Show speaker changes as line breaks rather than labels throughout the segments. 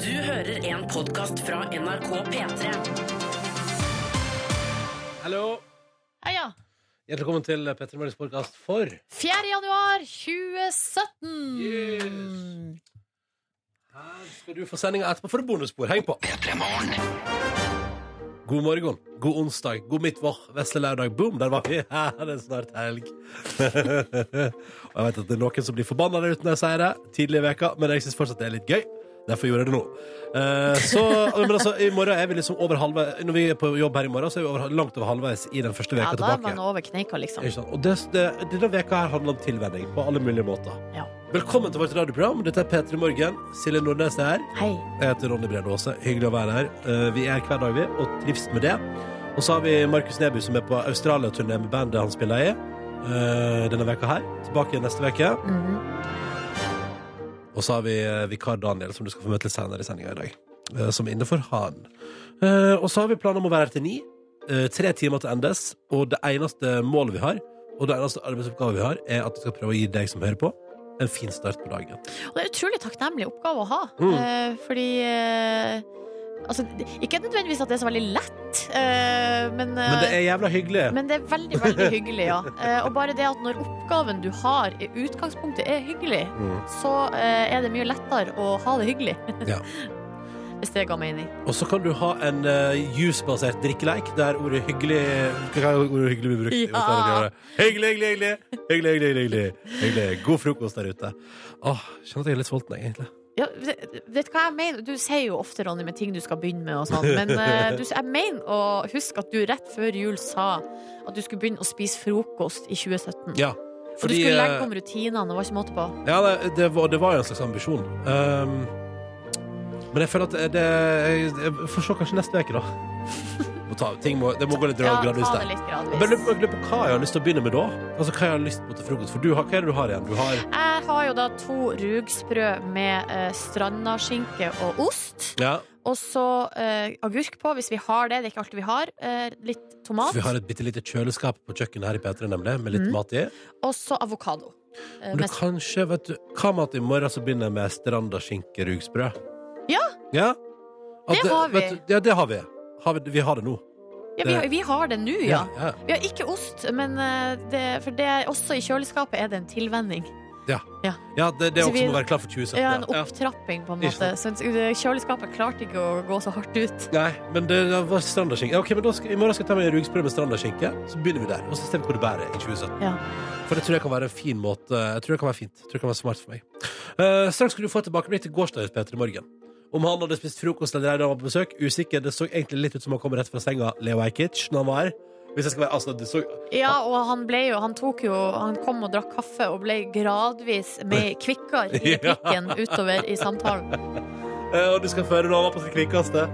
Du hører en podkast fra NRK P3.
Hallo.
Ja, ja.
Hjertelig velkommen til Petter Møllers podkast for
4. januar 2017.
Yes. Her skal du få sendinga etterpå for et bonusspor. Heng på. God morgen, god onsdag, god midtvår, vesle lørdag. Boom, der var vi. Ja, det er snart helg. Og jeg vet at det er noen som blir forbanna der ute når jeg sier det, tidlig i veka, men jeg syns fortsatt det er litt gøy. Derfor gjorde jeg det nå. Eh, så, men altså, i morgen er vi liksom over halve Når vi er på jobb her i morgen, så er vi over, langt over halvveis i den første
Ja,
veka
da er
tilbake.
man over kneika, liksom.
Ikke sant? Og det, det, denne veka her handler om tilvenning på alle mulige måter.
Ja.
Velkommen til vårt radioprogram. Dette er P3 Morgen. Silje Nordnes er her.
Hei.
Jeg heter Ronny Brede Aase. Hyggelig å være her. Eh, Vi er her hver dag, vi, og trives med det. Og så har vi Markus Neby, som er på Australia-turné med bandet han spiller i eh, denne veka her. Tilbake igjen neste veke.
Mhm.
Og så har vi eh, vikar Daniel, som du skal få møte litt senere i sendinga i dag. eh, Som er inne for han. Eh, Og så har vi planer om å være her til ni. Eh, Tre timer til endes. Og det eneste målet vi har, og det eneste arbeidsoppgaven vi har, er at vi skal prøve å gi deg som hører på, en fin start på dagen.
Og det er en utrolig takknemlig oppgave å ha.
Mm.
Eh, fordi eh, Altså, det- ikke nødvendigvis at det er så veldig lett, eh, men, eh,
Men det er jævla hyggelig.
men det er veldig, veldig hyggelig, ja. Eh, og bare det at når oppgaven du har i utgangspunktet er hyggelig,
Mm.
så eh, er det mye lettere å ha det hyggelig.
Ja.
Hvis det ga mening.
Og så kan du ha en uh, jusbasert drikkeleik der ordet hyggelig Hva er ordet hyggelig blir brukt? i
Ja.
Australia? Hyggelig, hyggelig, hyggelig. Hyggelig, hyggelig, hyggelig. hyggelig. God frokost der ute. Åh, Kjenner at jeg er litt sulten, egentlig.
Ja, vet vet du hva jeg mener? Du sier jo ofte, Ronny, med ting du skal begynne med og sånn, men eh, du, jeg mener å huske at du rett før jul sa at du skulle begynne å spise frokost i 2017.
Ja.
og du skulle
eh,
legge om rutinene, det var ikke måte på.
Ja, det, det, var, det var jo en slags ambisjon. Ehm, men jeg føler at det jeg, jeg får se kanskje neste uke, da. Må ta, ting må, det må gå litt
Ja, ta
gradvis
det
der.
litt
Men jeg
gradvis.
lurer på hva jeg har lyst til å begynne med da. Altså Hva jeg har lyst på til frokost. For du har, hva er det du har igjen? Du har
Jeg har jo da to rugsprø med eh, strandaskinke og ost,
ja,
og så eh, agurk på, hvis vi har det, det er ikke alltid vi har, eh, litt
så
tomat,
Vi har et bitte lite kjøleskap på kjøkkenet her i P3, nemlig, med litt
Mm.
mat i.
og så avokado. Eh,
Men
mest-
kanskje, vet du Hva med at i morgen så begynner jeg med strandaskinkerugsbrød?
Ja.
ja? At
Det har vi.
vet du- ja, det har vi. Har vi. Vi har det nå.
ja, vi, har- vi har det nå, ja.
ja.
Vi har ikke ost, men eh, det, for det, også i kjøleskapet er det en tilvenning.
ja det, det er
Så
også
vi-
må være klar for 2017.
Ja, en
ja.
opptrapping, på en
Ikke
måte. Så kjøleskapet klarte ikke å gå så hardt ut.
Nei, men det, det var strandaskinke. Ok, men da skal, I morgen skal jeg ta meg en rugsprø med strandaskinke. Så begynner vi der, og så ser vi hvor det bærer i 2017.
Ja.
For det tror jeg kan være en fin måte Jeg tror det kan være fint. Jeg tror det kan være smart for meg. Eh, straks skal du få et tilbakeblikk til gårsdagens Peter i morgen. Om han hadde spist frokost eller ei da han var på besøk, usikker. Det så egentlig litt ut som han kom rett fra senga, Leo Ajkic, når han var her. Hvis jeg skal være altså, det så,
Ja, og han ble jo Han tok jo Han kom og drakk kaffe og ble gradvis mer kvikkere i
Ja.
replikken utover i samtalen.
Eh, Og du skal føre når han var på sitt kvikkeste,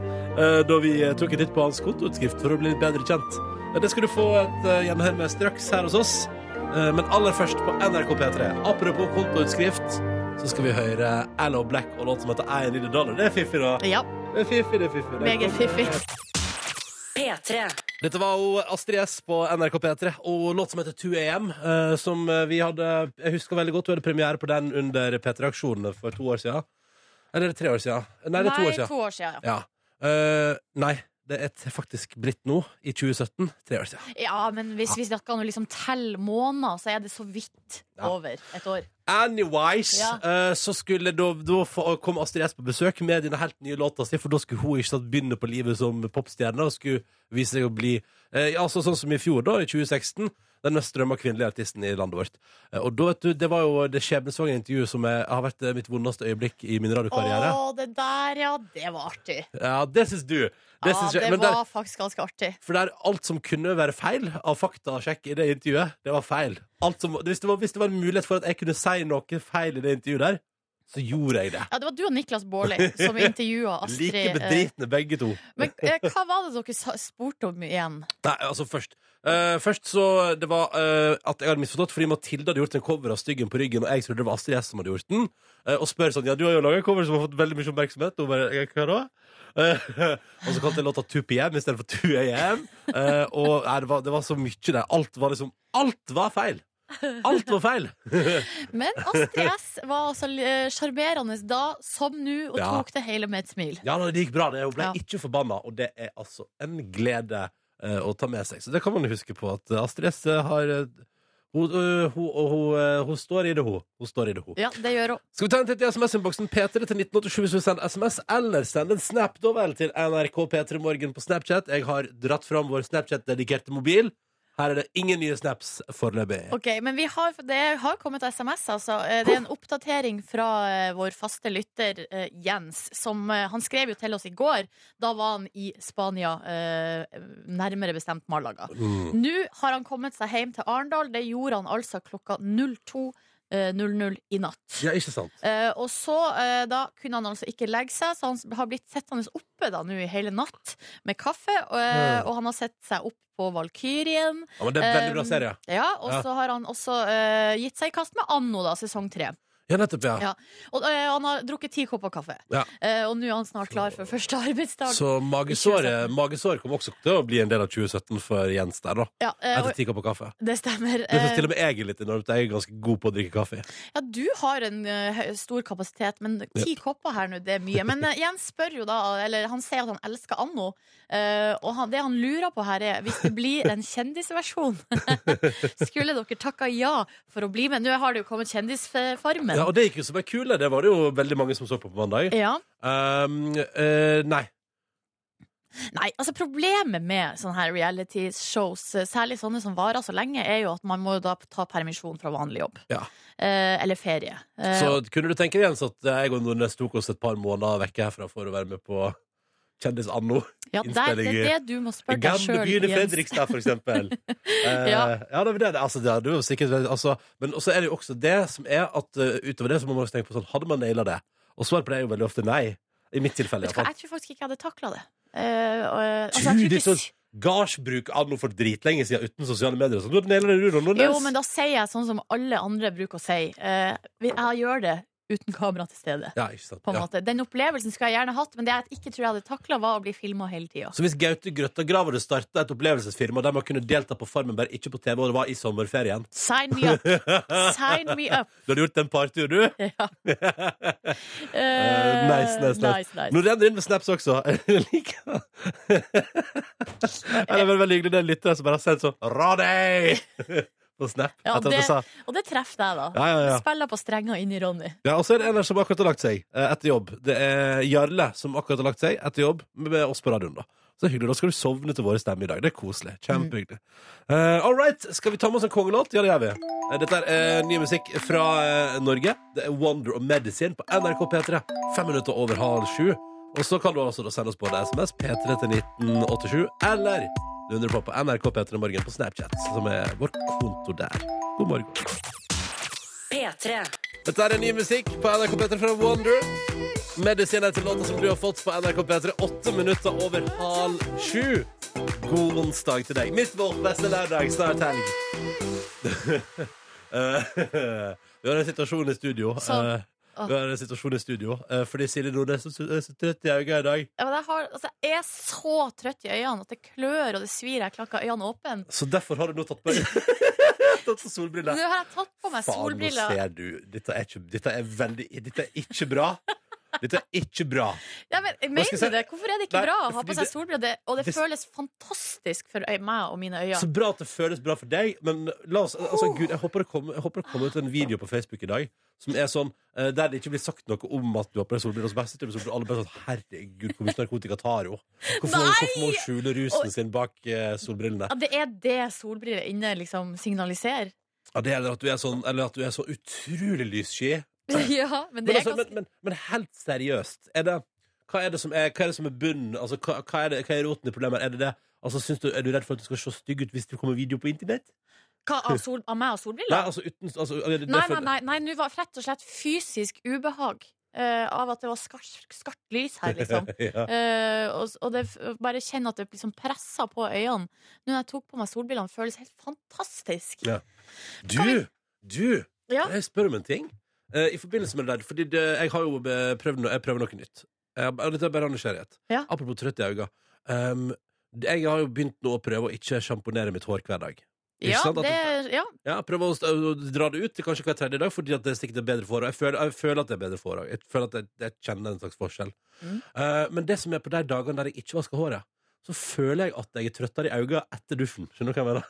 eh, da vi eh, tok en titt på hans kontoutskrift for å bli litt bedre kjent. Eh, Det skal du få et eh, gjenhør med straks her hos oss, Eh, men aller først på NRK P3. Apropos kontoutskrift, så skal vi høre Allo Black og låt som heter I Need A Dollar. Det er fiffig, da.
Ja,
Det er fiffig, det er fiffig. Det er
meget fiffig.
P3.
Dette var jo Astrid S på NRK P3 og låt som heter 2AM, eh, som eh, vi hadde Jeg husker veldig godt du hadde premiere på den under P3-aksjonene for to år siden. Eller er det tre år siden? Nei, det er to år siden.
to år siden. Ja,
Ja. Eh, nei, det er t- faktisk blitt nå, i 2017. Tre år siden.
ja men hvis vi kan liksom telle måneder, så er det så vidt
Ja.
over et år.
Anyways,
Ja.
eh, så skulle da, da få- kom Astrid S på besøk med denne helt nye låta si, for da skulle hun ikke sant, begynne på livet som popstjerne og skulle vise seg å bli eh, ja, altså sånn som i fjor, da, i 2016. Den mest strømma kvinnelige artisten i landet vårt. Eh, og da, vet du, Det var jo det skjebnesvangre intervjuet som er, har vært eh, mitt vondeste øyeblikk i min
Å,
radiokarriere.
det der, ja. Det var artig.
Ja, det syns du. Det
ja,
syns jeg.
det
Men
var
der,
faktisk ganske artig.
For det er alt som kunne være feil av faktasjekk i det intervjuet, det var feil. Alt som, hvis, det var, hvis det var en mulighet for at jeg kunne si noe feil i det intervjuet der, så gjorde jeg det.
Ja, det var du og Niklas Baarli som intervjua Astrid.
like
eh,
bedritne begge to.
Men eh, hva var det dere sa- spurte om igjen?
Nei, altså først Eh, Først så det var eh, at jeg hadde misforstått Fordi Mathilde hadde gjort en cover av Styggen på ryggen Og jeg trodde det var Astrid S som hadde gjort den Eh, Og spør sånn, ja du har jo laget en cover som har fått veldig mye oppmerksomhet Og hun bare, «Jeg, hva da? Eh, og så kalte jeg låta 2 p.m. i stedet for 2 a.m. Eh, og nei, det, var, det var så mye der Alt var liksom, alt var feil Alt var feil!
Men Astrid S var altså eh, sjarmerende da som nå, og
Ja.
tok det hele med et smil.
Ja, da, det gikk bra. Det. Hun ble
Ja.
ikke forbanna, og det er altså en glede eh, å ta med seg. Så det kan man jo huske på, at Astrid S har eh, hun, øh, hun, og hun, eh, hun står i det, hun. Hun står i det, hun.
Ja, det gjør hun.
Skal vi ta en titt i SMS-innboksen P3 til 1987 hvis du sender SMS, eller send en snap da vel til NRK P3 Morgen på Snapchat. Jeg har dratt fram vår Snapchat-dedikerte mobil. Her er det ingen nye snaps foreløpig.
Ok, Men vi har, det har kommet SMS, altså. Eh, Det er en oppdatering fra eh, vår faste lytter eh, Jens. Som, eh, han skrev jo til oss i går. Da var han i Spania, eh, nærmere bestemt Malaga.
Mm.
Nå har han kommet seg hjem til Arendal. Det gjorde han altså klokka 02.00 i natt.
Ja, ikke sant?
Eh, og så eh, da kunne han altså ikke legge seg, så han s- har blitt sittende oppe da nå i hele natt med kaffe. Og, eh,
Mm.
og han har sett seg opp på Valkyrien.
Ja, men det er en veldig bra
Um,
serie.
Ja, og
Ja.
så har han også eh, gitt seg i kast med Anno, da, sesong tre.
Ja, nettopp, ja.
Ja. Og eh, han har drukket ti kopper kaffe.
Ja.
Eh, og nå er han snart klar for første arbeidsdag.
Så magesåret
2017.
magesår kommer også til å bli en del av 2017 for Jens der, da.
ja, eh,
Etter
og,
ti kopper kaffe.
det stemmer.
Det syns
Eh,
til og med jeg er litt enormt. Jeg er ganske god på å drikke kaffe.
Ja, du har en eh, hø- stor kapasitet, men ti kopper her nå, det er mye. Men eh, Jens spør jo da, eller han sier at han elsker Anno, eh, og han, det han lurer på her er hvis det blir en kjendisversjon, skulle dere takka ja for å bli med? Nå har det jo kommet Kjendisfarmen.
Ja, og det gikk jo som ei kule. Det var det jo veldig mange som så på på mandag.
Ja.
Um, eh, nei.
Nei, altså problemet med sånne her reality-shows, særlig sånne som varer så lenge, er jo at man må jo da ta permisjon fra vanlig jobb.
Ja.
Eh, eller ferie. Eh,
Så kunne du tenke deg, Jens, at jeg og Nordnes tok oss et par måneder vekke herfra for å være med på Kjendis Anno?
ja, der, det er det du må spørre deg
Gamle
sjøl,
byen i
Jens.
Fredrikstad, for eksempel. Eh,
Ja.
ja, det, er det, altså, det, er- det er jo sikkert, veldig- altså, men også er det jo også det som er at eh, utover det så må man også tenke på sånn, hadde man naila det? Og svaret på det er jo veldig ofte nei. I mitt tilfelle,
Vet du hva,
iallfall.
jeg tror faktisk ikke jeg hadde takla det. Eh, og, altså, jeg
Gud,
tror
det er
ikke...
så- Gardsbruk anno for dritlenge siden uten sosiale medier. Så nå nailer det du, da, Nordnes.
Jo, men da sier jeg sånn som alle andre bruker å si. Eh, jeg gjør det uten kamera til stede.
Ja, ikke sant.
På
Ja.
en måte. Den opplevelsen skulle jeg gjerne hatt, men det jeg ikke tror jeg hadde takla, var å bli filma hele tida.
Så hvis Gaute Grøtta Graver hadde starta et opplevelsesfirma der man kunne delta på Farmen, bare ikke på TV, og det var i sommerferien
Sign me up! Sign me up!
Du hadde gjort en partur, du?
Ja.
Eh, nice, nice, nice. Nå renner det inn med snaps også. Jeg liker det. Det er veldig, veldig hyggelig. Det er lyttere som bare har sendt sånn Ra deg! På snap.
Ja,
etter at jeg sa.
Og det treffer deg, da.
Ja, ja, ja.
Spiller på strenger inni Ronny.
ja, Og så er det en der som akkurat har lagt seg eh, etter jobb. Det er Jarle som akkurat har lagt seg etter jobb med oss på radioen. da så det er hyggelig, Da skal du sovne til våre stemmer i dag. Det er koselig. Kjempehyggelig. Eh, all right, skal vi ta med oss en kongelåt? Ja, det gjør vi. Eh, Dette er eh, ny musikk fra eh, Norge. Det er Wonder of Medicine på NRK P3. Fem minutter over halv sju. Og så kan du altså da sende oss både SMS P3 til 1987, eller du undrer på på NRK P3 Morgen på Snapchat, som er vårt konto der. God morgen.
P3.
Dette er ny musikk på NRK P3 fra Wonder. Medisin er til låta som du har fått på NRK P3 åtte minutter over halv sju. God onsdag til deg. Mitt vårt beste lørdag, snart helg. Eh, vi har en situasjon i studio.
Så-
eh, vi har en situasjon i studio eh, Fordi Silje Nordnes er så er så trøtt i øynene i dag.
Ja, men Jeg, har, altså, jeg er så trøtt i øynene at det klør og det svir. Jeg klarer ikke å ha øynene åpne.
Så derfor har du nå tatt på Tatt på solbriller.
Nå har jeg tatt på meg
Faen, nå
solbriller.
ser du. Dette er, ikke, dette er veldig Dette er ikke bra. Dette er ikke bra.
Ja, men,
Hva skal
mener
jeg si?
du det? Hvorfor er det ikke
Nei,
bra å ha
fordi
på seg
det-
solbriller? Det, og det
det-
føles fantastisk for øy, meg og mine øyne.
Så bra at det føles bra for deg, men la oss, altså, Gud, jeg, håper det kommer, jeg håper det kommer ut en video på Facebook i dag som er sånn, eh, der det ikke blir sagt noe om at du har på deg solbriller. Og så bare sitter du med solbriller, og alle bare sånn Herregud, hvor mye narkotika tar hun? Hvorfor,
Nei!
hvorfor må hun skjule rusen sin bak eh, solbrillene?
Ja, det er det solbriller inne liksom signaliserer.
Ja, det gjelder at du er sånn, eller at du er så utrolig lyssky.
ja, men
Men,
det er
altså, men,
ganske
men, men helt seriøst, er det, hva, er det som er, hva er det som er bunnen? Altså, hva, hva, er det, hva er roten i problemet? Er det det? Altså, synes du, er du redd for at du skal se stygg ut hvis det kommer video på internett?
Hva, av, sol, av meg og
Nei,
solbriller?
altså uten altså, er det
Nei,
derfor-
nei, nei, nei, nå var det rett og slett fysisk ubehag eh, av at det var skarpt skarpt lys her, liksom.
ja.
Eh, og, og det f- bare kjenne at det liksom presser på øynene. Nå når jeg tok på meg solbrillene, føles helt fantastisk.
Ja.
Kan
Du, du,
Ja.
jeg spør om en ting. Eh, I forbindelse med det der, fordi det, jeg har jo eh, prøvd noe, jeg prøver noe nytt. Jeg, dette er bare av nysgjerrighet.
Ja.
Ehm, Apropos trøtt i øynene. Um, det- jeg har jo begynt nå å prøve å ikke sjamponere mitt hår hver dag. Ikke
Ja,
sant at
det, ja,
Ja, prøve å, st- å dra det ut til kanskje hver tredje dag, fordi at det er sikkert er bedre forhold. Jeg føler, jeg føler at det er bedre forhold. Jeg føler at jeg, jeg kjenner en slags forskjell.
Mm.
Eh, men det som er på de dagene der jeg ikke vasker håret, så føler jeg at jeg er trøttere i øynene etter dusjen. Skjønner du hva jeg mener?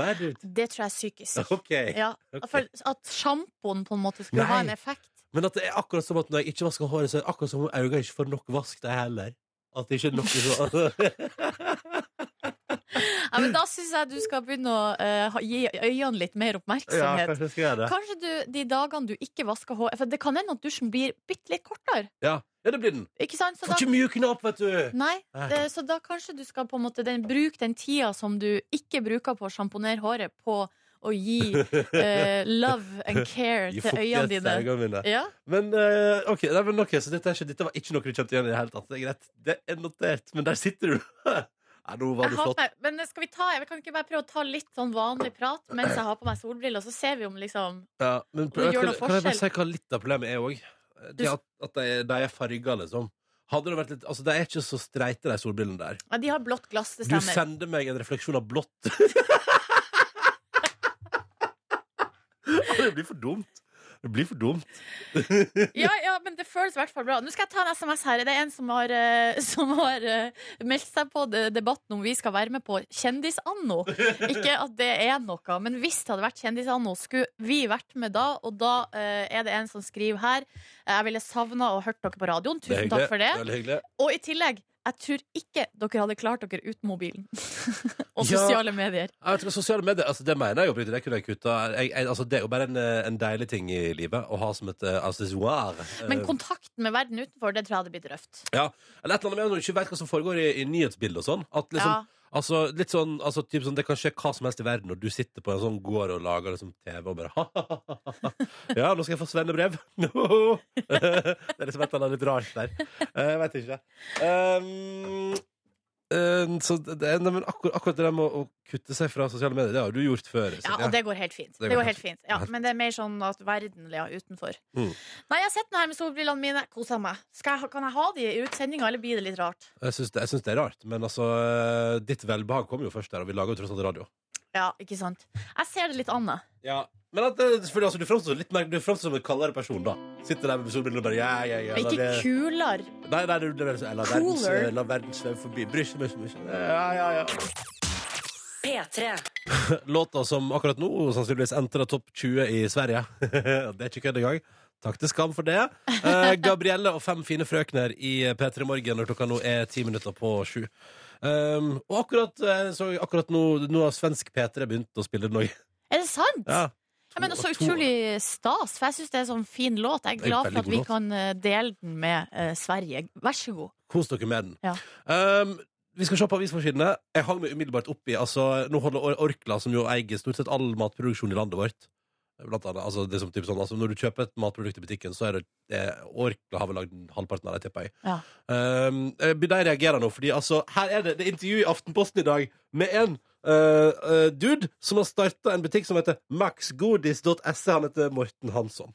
Nei, du...
det tror jeg er psykisk.
Ok.
Ja,
Ok.
for at sjampoen på en måte skulle
Nei.
ha en effekt.
Men at det er akkurat som at når jeg ikke vasker håret, så er det akkurat som om øynene ikke får nok vask, det heller. At det ikke er nok liksom. Altså,
Ja, men da syns jeg du skal begynne å eh, ha- gi øynene litt mer
Ja,
oppmerksomhet.
kanskje jeg skal gjøre det.
Kanskje du, de dagene du ikke vasker hår For det kan hende at dusjen blir bitte litt kortere.
Ja, ja det blir den.
Ikke sant? Så
Får
da,
ikke mjukne opp, vet du.
nei,
Nei.
eh, så da kanskje du skal på en måte den, bruke den tida som du ikke bruker på å sjamponere håret, på å gi eh, love and care
Gi
til øynene
fuktighet
dine.
øynene mine.
Ja,
Men eh, ok, nei, men ok, så dette, er ikke, dette var ikke noe du kjente igjen i det hele tatt. Det er greit. Det er notert, men der sitter du. nei, nå var
jeg
du
har på
flott.
meg, men skal vi ta Jeg kan ikke bare prøve å ta litt sånn vanlig prat mens jeg har på meg solbriller, og så ser vi om liksom
Ja, men
du gjør
kan,
noe
kan jeg bare si
forskjell.
hva litt av problemet er òg?
Du-
At, at de, de er farga, liksom. Hadde det vært litt, altså, De er ikke så streite, de solbrillene der.
Ja, de har blått glass, det
Du
stemmer.
sender meg en refleksjon av blått. det blir for dumt. Det blir for dumt.
Ja, ja, men det føles i hvert fall bra. Nå skal jeg ta en SMS her. Det er en som har, eh, som har eh, meldt seg på de- debatten om vi skal være med på Kjendis-anno. Ikke at det er noe, men hvis det hadde vært Kjendis-anno, skulle vi vært med da? Og da eh, er det en som skriver her eh, Jeg ville savna å hørt dere på radioen.
Det er
Tusen takk for det.
er veldig hyggelig.
Og i tillegg, jeg tror ikke dere hadde klart dere uten mobilen og
Ja.
sosiale medier.
Ja, Jeg tror sosiale medier, altså det mener jeg oppriktig, det kunne jeg kutta. Jeg, jeg, altså det er jo bare en, eh, en deilig ting i livet å ha som et eh, accessoire. Eh,
Men kontakten med verden utenfor, det tror jeg hadde blitt røft.
Eller et eller annet med når du ikke vet hva som foregår i, i nyhetsbildet og sånn. At liksom,
Ja.
altså, litt sånn, altså, typ sånn, det kan skje hva som helst i verden, og du sitter på en sånn gård og lager liksom TV og bare ha-ha-ha. Ja, nå skal jeg få svennebrev. No. det er liksom et eller annet litt rart der. Eh, Jeg vet ikke. Um, eh, så det, er- nei, men akkur, akkurat det der med å, å kutte seg fra sosiale medier, det har du gjort før. så
Ja, og det går helt fint. Det går helt fint. Ja, men det er mer sånn at verden ja, utenfor.
Mm.
Nei, jeg har sett den her med solbrillene mine. Kosa meg. Skal jeg, kan jeg ha de i utsendinga, eller blir det litt rart?
Jeg syns det, jeg syns det er rart, men altså eh, Ditt velbehag kommer jo først der, og vi lager jo tross alt radio.
Ja, ikke sant? Jeg ser det litt an, jeg.
Men at, eh, selvfølgelig, altså, du framstår litt mer Du framstår som en kaldere person, da. Sitter der med solbrillene og bare ja, ja, ja.
Men
la
Ikke
det-
kulere.
Nei, nei, du blir sånn La verden
Cooler.
sveve- la verden sveve forbi. Bryr seg meg så mye. Ja, ja, ja.
P3.
Låta som akkurat nå sannsynligvis entrer topp 20 i Sverige. det er ikke kødd engang. Takk til Skam for det. Eh, Gabrielle og fem fine frøkner i P3 Morgen når klokka nå er ti minutter på sju. Um, og akkurat, eh, så akkurat nå, nå har svensk P3 begynt å spille den òg.
Er det sant?
Ja.
Jeg mener, Så
To- to-
utrolig stas, for jeg syns det er en sånn fin låt. Jeg er
Det er en
glad for
veldig
at vi
god låt.
kan eh, dele den med eh, Sverige. Vær så god.
Kos dere med den.
Ja.
Um, vi skal se på avisforsidene. Jeg hang meg umiddelbart opp i altså, Nå holder Or- Orkla, som jo eier stort sett all matproduksjon i landet vårt Blant annet, altså, det er som typ sånn, altså, Når du kjøper et matprodukt i butikken, så er det, det Orkla har vel lagd halvparten av det, tipper jeg.
Ja.
Um, eh, de reagerer nå, fordi altså, her er det, det er intervju i Aftenposten i dag med en eh, eh, dude som har starta en butikk som heter maxgodis.se. E. Han heter Morten Hansson.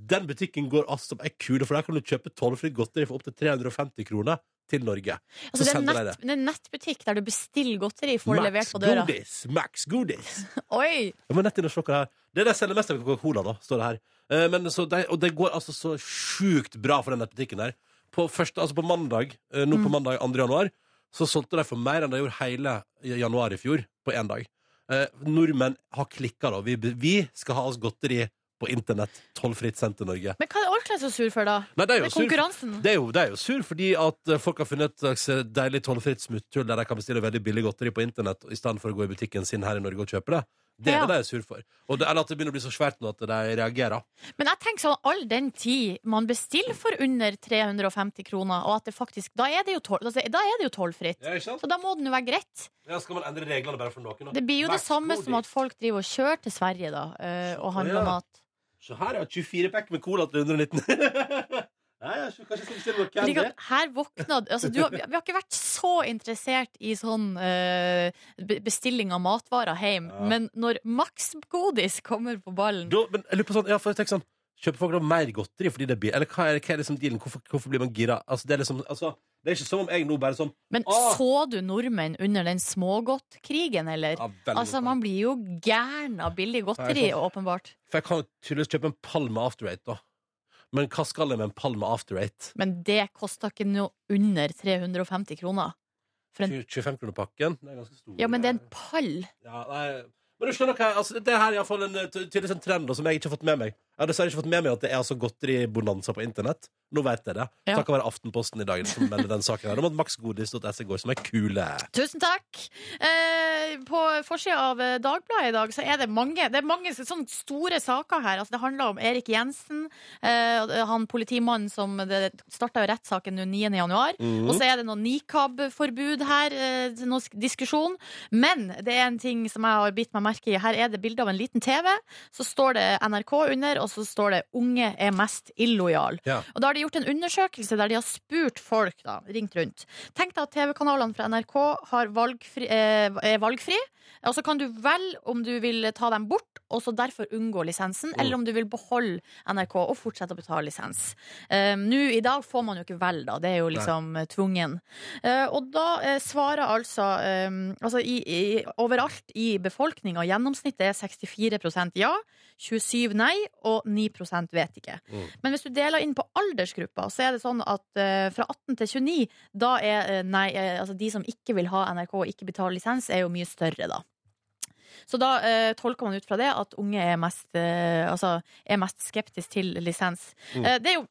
Den butikken går altså på ei kule, for der kan du kjøpe tollfritt godteri for opptil 350 kroner til Norge.
Altså, det, er
sender jeg
nett, det er en nettbutikk der du bestiller godteri, får det levert på døra.
godis! Max godis!
Oi!
Jeg må nett inn og se hva det er. Det er det jeg selger mest av Coca-Cola, da, står det her. Eh, Men, så det, og det går altså så sjukt bra for den nettbutikken der. På, første, altså på mandag, eh, nå på mandag 2. januar, så solgte de for mer enn de gjorde hele januar i fjor, på én dag. Eh, nordmenn har klikka, da. Vi, vi skal ha oss godteri på internett. Tollfritt sendt til Norge.
Men hva er Orkla så sur for, da?
Nei, det er
Det
jo
er
sur.
konkurransen.
Det er, jo, det er jo sur, fordi at eh, folk har funnet et slags eh, deilig tollfritt smutthull der de kan bestille veldig billig godteri på internett i stedet for å gå i butikken sin her i Norge og kjøpe det. Det er
Ja.
det de er sur for. Og det, eller at det begynner å bli så svært nå at de reagerer.
Men jeg tenker sånn, all den tid man bestiller for under 350 kroner, og at det faktisk Da er det jo, tol altså, da er det jo tollfritt.
Ja, ikke sant?
Så da må den jo være greit.
Ja, skal man endre reglene bare for noen? da?
Det blir jo det
Vær så
samme
god,
som at
Dick.
folk driver og kjører til Sverige da, eh, og
Å,
handler
ja.
mat.
Så her er 24 pack med cola til 119. Nei, jeg skal kanskje bestille noe
Fordi
candy.
at her våkna altså, du, har- Vi har ikke vært så interessert i sånn eh, be- bestilling av matvarer hjem,
Ja.
men når Max Godis kommer på ballen
Da, men jeg lurer på sånn, ja, for jeg tenker sånn Kjøper folk da mer godteri fordi det er billig? Eller hva er, hva er liksom dealen? Hvorfor, hvorfor blir man gira? Altså, det er liksom altså, Det er ikke som om jeg nå bare sånn
Men
Åh!
så du nordmenn under den smågodtkrigen, eller?
ja, veldig
Altså,
godt.
man blir jo gæren av billig godteri,
Nei,
åpenbart.
For jeg kan tydeligvis kjøpe en pall med after eight, da. Men hva skal jeg med en pall med after eight?
Men det kosta ikke noe under 350 kroner. For en,
25-kronerpakken? Den er ganske stor.
ja, men det er en pall.
Ja, nei. Men du skjønner hva jeg, altså, det- det her er iallfall en, eh, ty- tydeligvis en trend da, som jeg ikke har fått med meg. Jeg har dessverre ikke fått med meg at det er altså godteribonanza på internett. Nå vet jeg det.
Ja.
Takket være Aftenposten i dag som melder den saken her om at maxgodis.se går som er kule.
Tusen takk! Eh, på forsida av eh, Dagbladet i dag så er det mange Det er mange sånne store saker her. Altså, det handler om Erik Jensen, eh, han politimannen som starta rettssaken nå 9. januar. Og så er det noe nikab-forbud her, eh, noe sk- diskusjon. Men det er en ting som jeg har bitt meg merke i. Her er det bilde av en liten TV. Så står det NRK under, og så står det 'Unge er mest illojal'.
Ja.
Og da har de gjort en undersøkelse der de har spurt folk, da, ringt rundt. Tenk deg at TV-kanalene fra NRK har valgfri, eh, er valgfri. Og så kan du velge om du vil ta dem bort, og så derfor unngå lisensen, eller om du vil beholde NRK og fortsette å betale lisens. Eh, Nå i dag får man jo ikke velge, da. Det er jo liksom eh, tvungen. Eh, og da eh, svarer altså, eh, altså i, i, Overalt i befolkninga, gjennomsnittet er 64 ja, 27 nei og 9 vet ikke.
Mm.
Men hvis du deler inn på aldersgrupper, så er det sånn at eh, fra 18 til 29, da er eh, nei, eh, altså de som ikke vil ha NRK og ikke betaler lisens, er jo mye større, da. Så da eh, tolker man ut fra det at unge er mest, eh, altså, er mest skeptisk til lisens.
Mm.
Eh, det er jo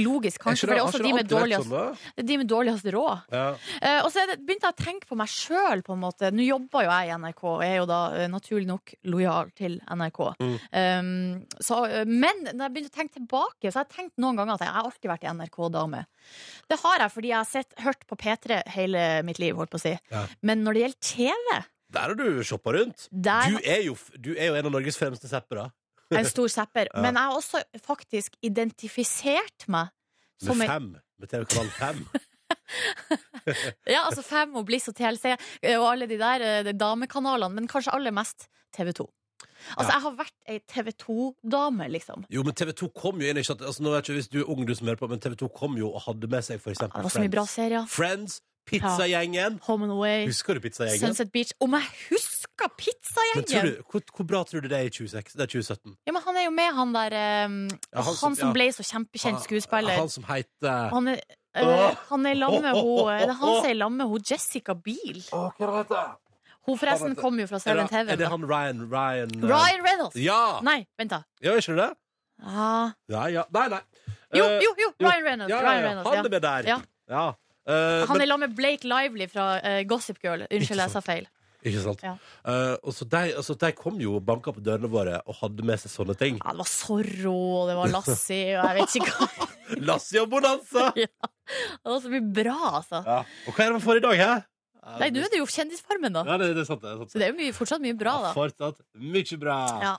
logisk, kanskje, for det er også de med dårligst det er de med dårligst råd.
sånn, Ja.
Eh, og så er det, begynte jeg å tenke på meg sjøl, på en måte. Nå jobber jo jeg i NRK, og er jo da eh, naturlig nok lojal til NRK.
Mm.
Um, så, eh, men når jeg begynte å tenke tilbake, så har jeg tenkt noen ganger at jeg har alltid vært en NRK-dame. Det har jeg fordi jeg har sett, hørt på P3 hele mitt liv, holdt på å si.
Ja.
Men når det gjelder TV,
Der har du shoppa rundt.
der
Du er, jo, f- du er jo en av Norges fremste zappere.
er jeg en stor zapper.
Ja.
Men jeg har også faktisk identifisert meg
Med
som en
fem. Med TV-kanal 5.
Ja, altså Fem og Bliss og TLC eh, og alle de der eh, de damekanalene, men kanskje aller mest TV2. Altså,
Ja.
jeg har vært ei TV2-dame, liksom.
Jo, men TV2 kom jo inn. Ikke at, altså, nå vet jeg ikke hvis du er ung, du som hører på, men TV2 kom jo og hadde med seg for
Ja, Det
eksempel
var så mye bra
Friends.
serier.
Friends, Pizzagjengen.
Home and Away,
Husker du Pizzagjengen?
Sunset Beach Om jeg husker
Men tror
Pizzagjengen!
du, hvor, hvor bra tror du det er i 2016? Det er 2017?
Ja, men han er jo med, han der eh,
Ja,
Han,
han som-
som
ja.
ble så kjempekjent skuespiller.
Han som heter
Han er, eh,
Åh!
han er i lag med hun eh, Det er han som er i lag med hun Jessica Biel. Hun forresten kom jo fra
er
Seven
det,
TV.
er det han Ryan Ryan, eh,
Ryan Reynolds!
Ja!
Nei, vent, da.
ja! Ikke det?
Ah.
Ja, ja. Nei, nei.
Jo,
Eh,
jo, jo! Ryan Reynolds.
ja, ja,
Ryan
ja.
Reynolds ja.
Han er med der.
Ja.
Ja. Eh,
Han
men,
er sammen med Blake Lively fra eh, Gossip Girl.
Ikke
Unnskyld, jeg sa
sant.
feil.
Ikke sant?
Ja.
Eh, og så de, altså, de kom jo og banka på dørene våre og hadde med seg sånne ting.
Ja, det var Zorro, og det var Lassie, og jeg vet ikke hva.
Lassie og Bonanza!
Det var så mye bra, altså.
Ja. Og hva er det man får i dag, hæ? Ja,
Nei, nå er det jo Kjendisfarmen, da.
Ja, det, det er sant, det. Er sant,
Så det er jo mye, fortsatt mye bra, da.
Fortsatt mye bra.
Ja.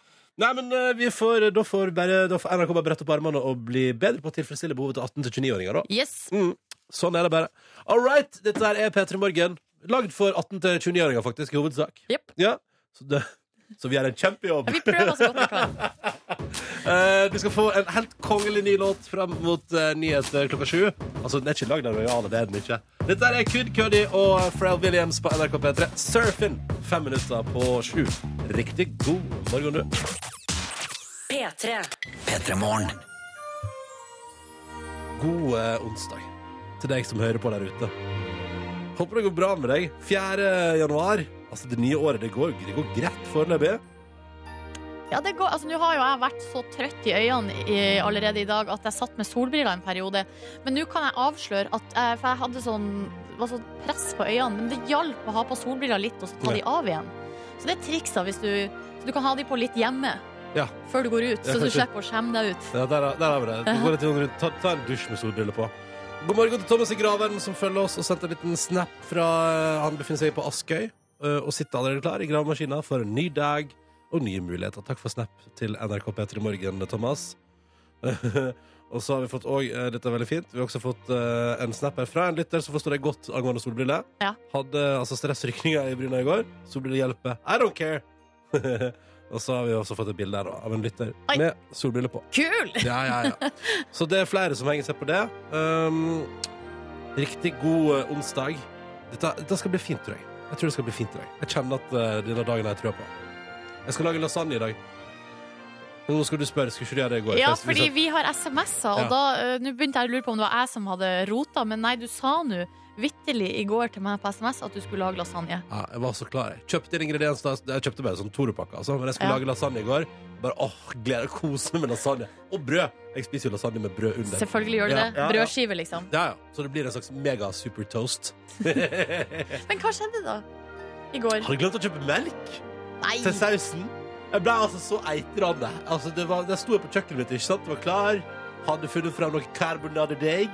Nei, men eh, vi får, da, får bare, da får NRK bare brette opp armene og bli bedre på å tilfredsstille behovet til 18-29-åringer. da.
Yes.
Mm. Sånn er det bare. All right, dette her er P3 Morgen. Lagd for 18-29-åringer, faktisk, i hovedsak.
Jepp.
Ja, så, det, så vi gjør en kjempejobb.
Vi prøver så godt vi kan.
Eh, vi skal få en helt kongelig ny låt fram mot eh, nyheter klokka sju. Altså, den er ikke lagd av Royale, det er den ikke. Dette her er Kid Cudi og Pharrell Williams på NRK P3. Surfin! Fem minutter på sju. Riktig god morgen, du.
P3.
God eh, onsdag til deg som hører på der ute. Håper det går bra med deg. 4. januar. Altså, det nye året, det går, det går greit foreløpig.
Ja, det går, altså Nå har jo jeg vært så trøtt i øynene i, allerede i dag at jeg satt med solbriller en periode. Men nå kan jeg avsløre at eh, For jeg hadde sånn var sånn press på øynene, men det hjalp å ha på solbriller litt, og så ta de av igjen. Så det er triksa hvis du Så du kan ha de på litt hjemme
Ja.
før du går ut, så du slipper å skjemme deg ut.
Ja, der, har- der har vi det. Du går litt rundt, ta, ta en dusj med solbriller på. God morgen til Thomas i Graven, som følger oss og sendte en liten snap fra eh, Han befinner seg på Askøy eh, og sitter allerede klar i gravemaskina for en ny dag og nye muligheter. Takk for snap til NRK P3 Morgen, Thomas. og så har vi fått òg Dette er veldig fint. Vi har også fått eh, en snap her fra en lytter som forstår deg godt angående solbriller.
Ja.
Hadde altså stressrykninger i bryna i går. Solbriller hjelper. I don't care. Og så har vi også fått et bilde her da, av en lytter
Oi.
med solbriller på.
Kul!
Ja, ja, ja. Så det er flere som henger seg på det. Um, riktig god eh, onsdag. Dette, dette skal bli fint, tror jeg. Jeg tror det skal bli fint i dag. Jeg kjenner at eh, denne dagen har jeg trua på. Jeg skal lage lasagne i dag. Men nå skal du spørre, skulle ikke du gjøre det i går?
Ja,
Forresten,
fordi vi har SMS-er,
liksom.
og
Ja.
da eh, Nå begynte jeg å lure på om det var jeg som hadde rota, men nei, du sa nå vitterlig i går til meg på SMS at du skulle lage lasagne.
Ja, jeg var så klar. Jeg kjøpte inn ingredienser. da. Jeg kjøpte bare sånn Toro-pakke. Altså. Men jeg skulle
Ja.
lage lasagne i går. Bare åh, gleder meg kose meg med lasagne. Og brød! Jeg spiser jo lasagne med brød under.
Selvfølgelig gjør du
Ja,
det.
ja, ja.
Brødskive, liksom.
Ja, ja. Så det blir en slags mega-super-toast. Har
Men hva skjedde da? I går?
du glemt å kjøpe melk
Nei!
til sausen? Jeg ble altså så eitrande. Altså, det var, jeg sto jo på kjøkkenet mitt, ikke sant? Det var klar. Hadde funnet fram noe carbonade deig.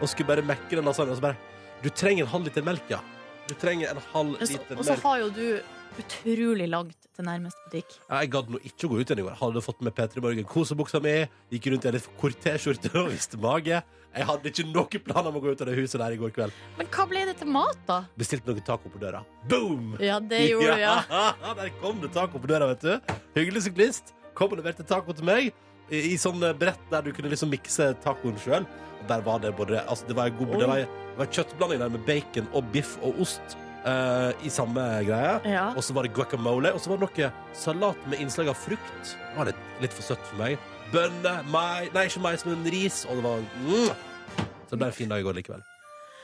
Og skulle bare mekke den lasagnen. Og så bare Du trenger en halv liter melk, ja. Du trenger en halv
Og så-
liter
Og så
melk.
har jo du utrolig langt til nærmeste butikk.
Ja, Jeg gadd nå ikke å gå ut igjen i går. Hadde fått med P3 Morgen kosebuksa mi. Gikk rundt i en litt for kort T-skjorte og viste mage. Jeg hadde ikke noen planer om å gå ut av det huset der i går kveld.
Men hva ble det til mat, da?
Bestilte noen taco på døra. Boom!
Ja, det gjorde du, ja.
Der kom det taco på døra, vet du. Hyggelig syklist. Kom og leverte taco til meg. I, i sånn eh, brett der du kunne liksom mikse tacoen sjøl. Og der var det både Altså, det var, en god, det var, det var en kjøttblanding der med bacon og biff og ost eh, i samme greie.
ja.
Og så var det guacamole, og så var det noe salat med innslag av frukt. Det var litt, litt for søtt for meg. Bønner, mai, nei, ikke mais, men ris, og det var mm. Så det ble en fin dag i går likevel.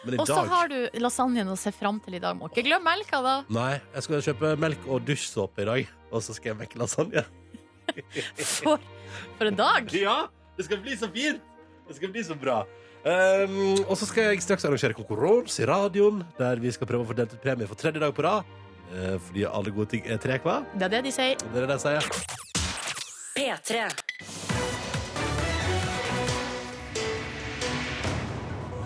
Men i
Og så
dag
har du lasagnen å se fram til i dag. Må ikke glemme melka, da.
Nei, jeg skal kjøpe melk og dusjsåpe i dag, og så skal jeg mekke lasagne.
For, for en dag!
Ja, det skal bli så fint! Det skal bli så bra. Ehm, og så skal jeg straks arrangere konkurranse i radioen, der vi skal prøve å få delt ut premie for tredje dag på rad. Eh, fordi alle gode ting er tre, hva?
Det er det de sier.
Det er det jeg sier.
P3.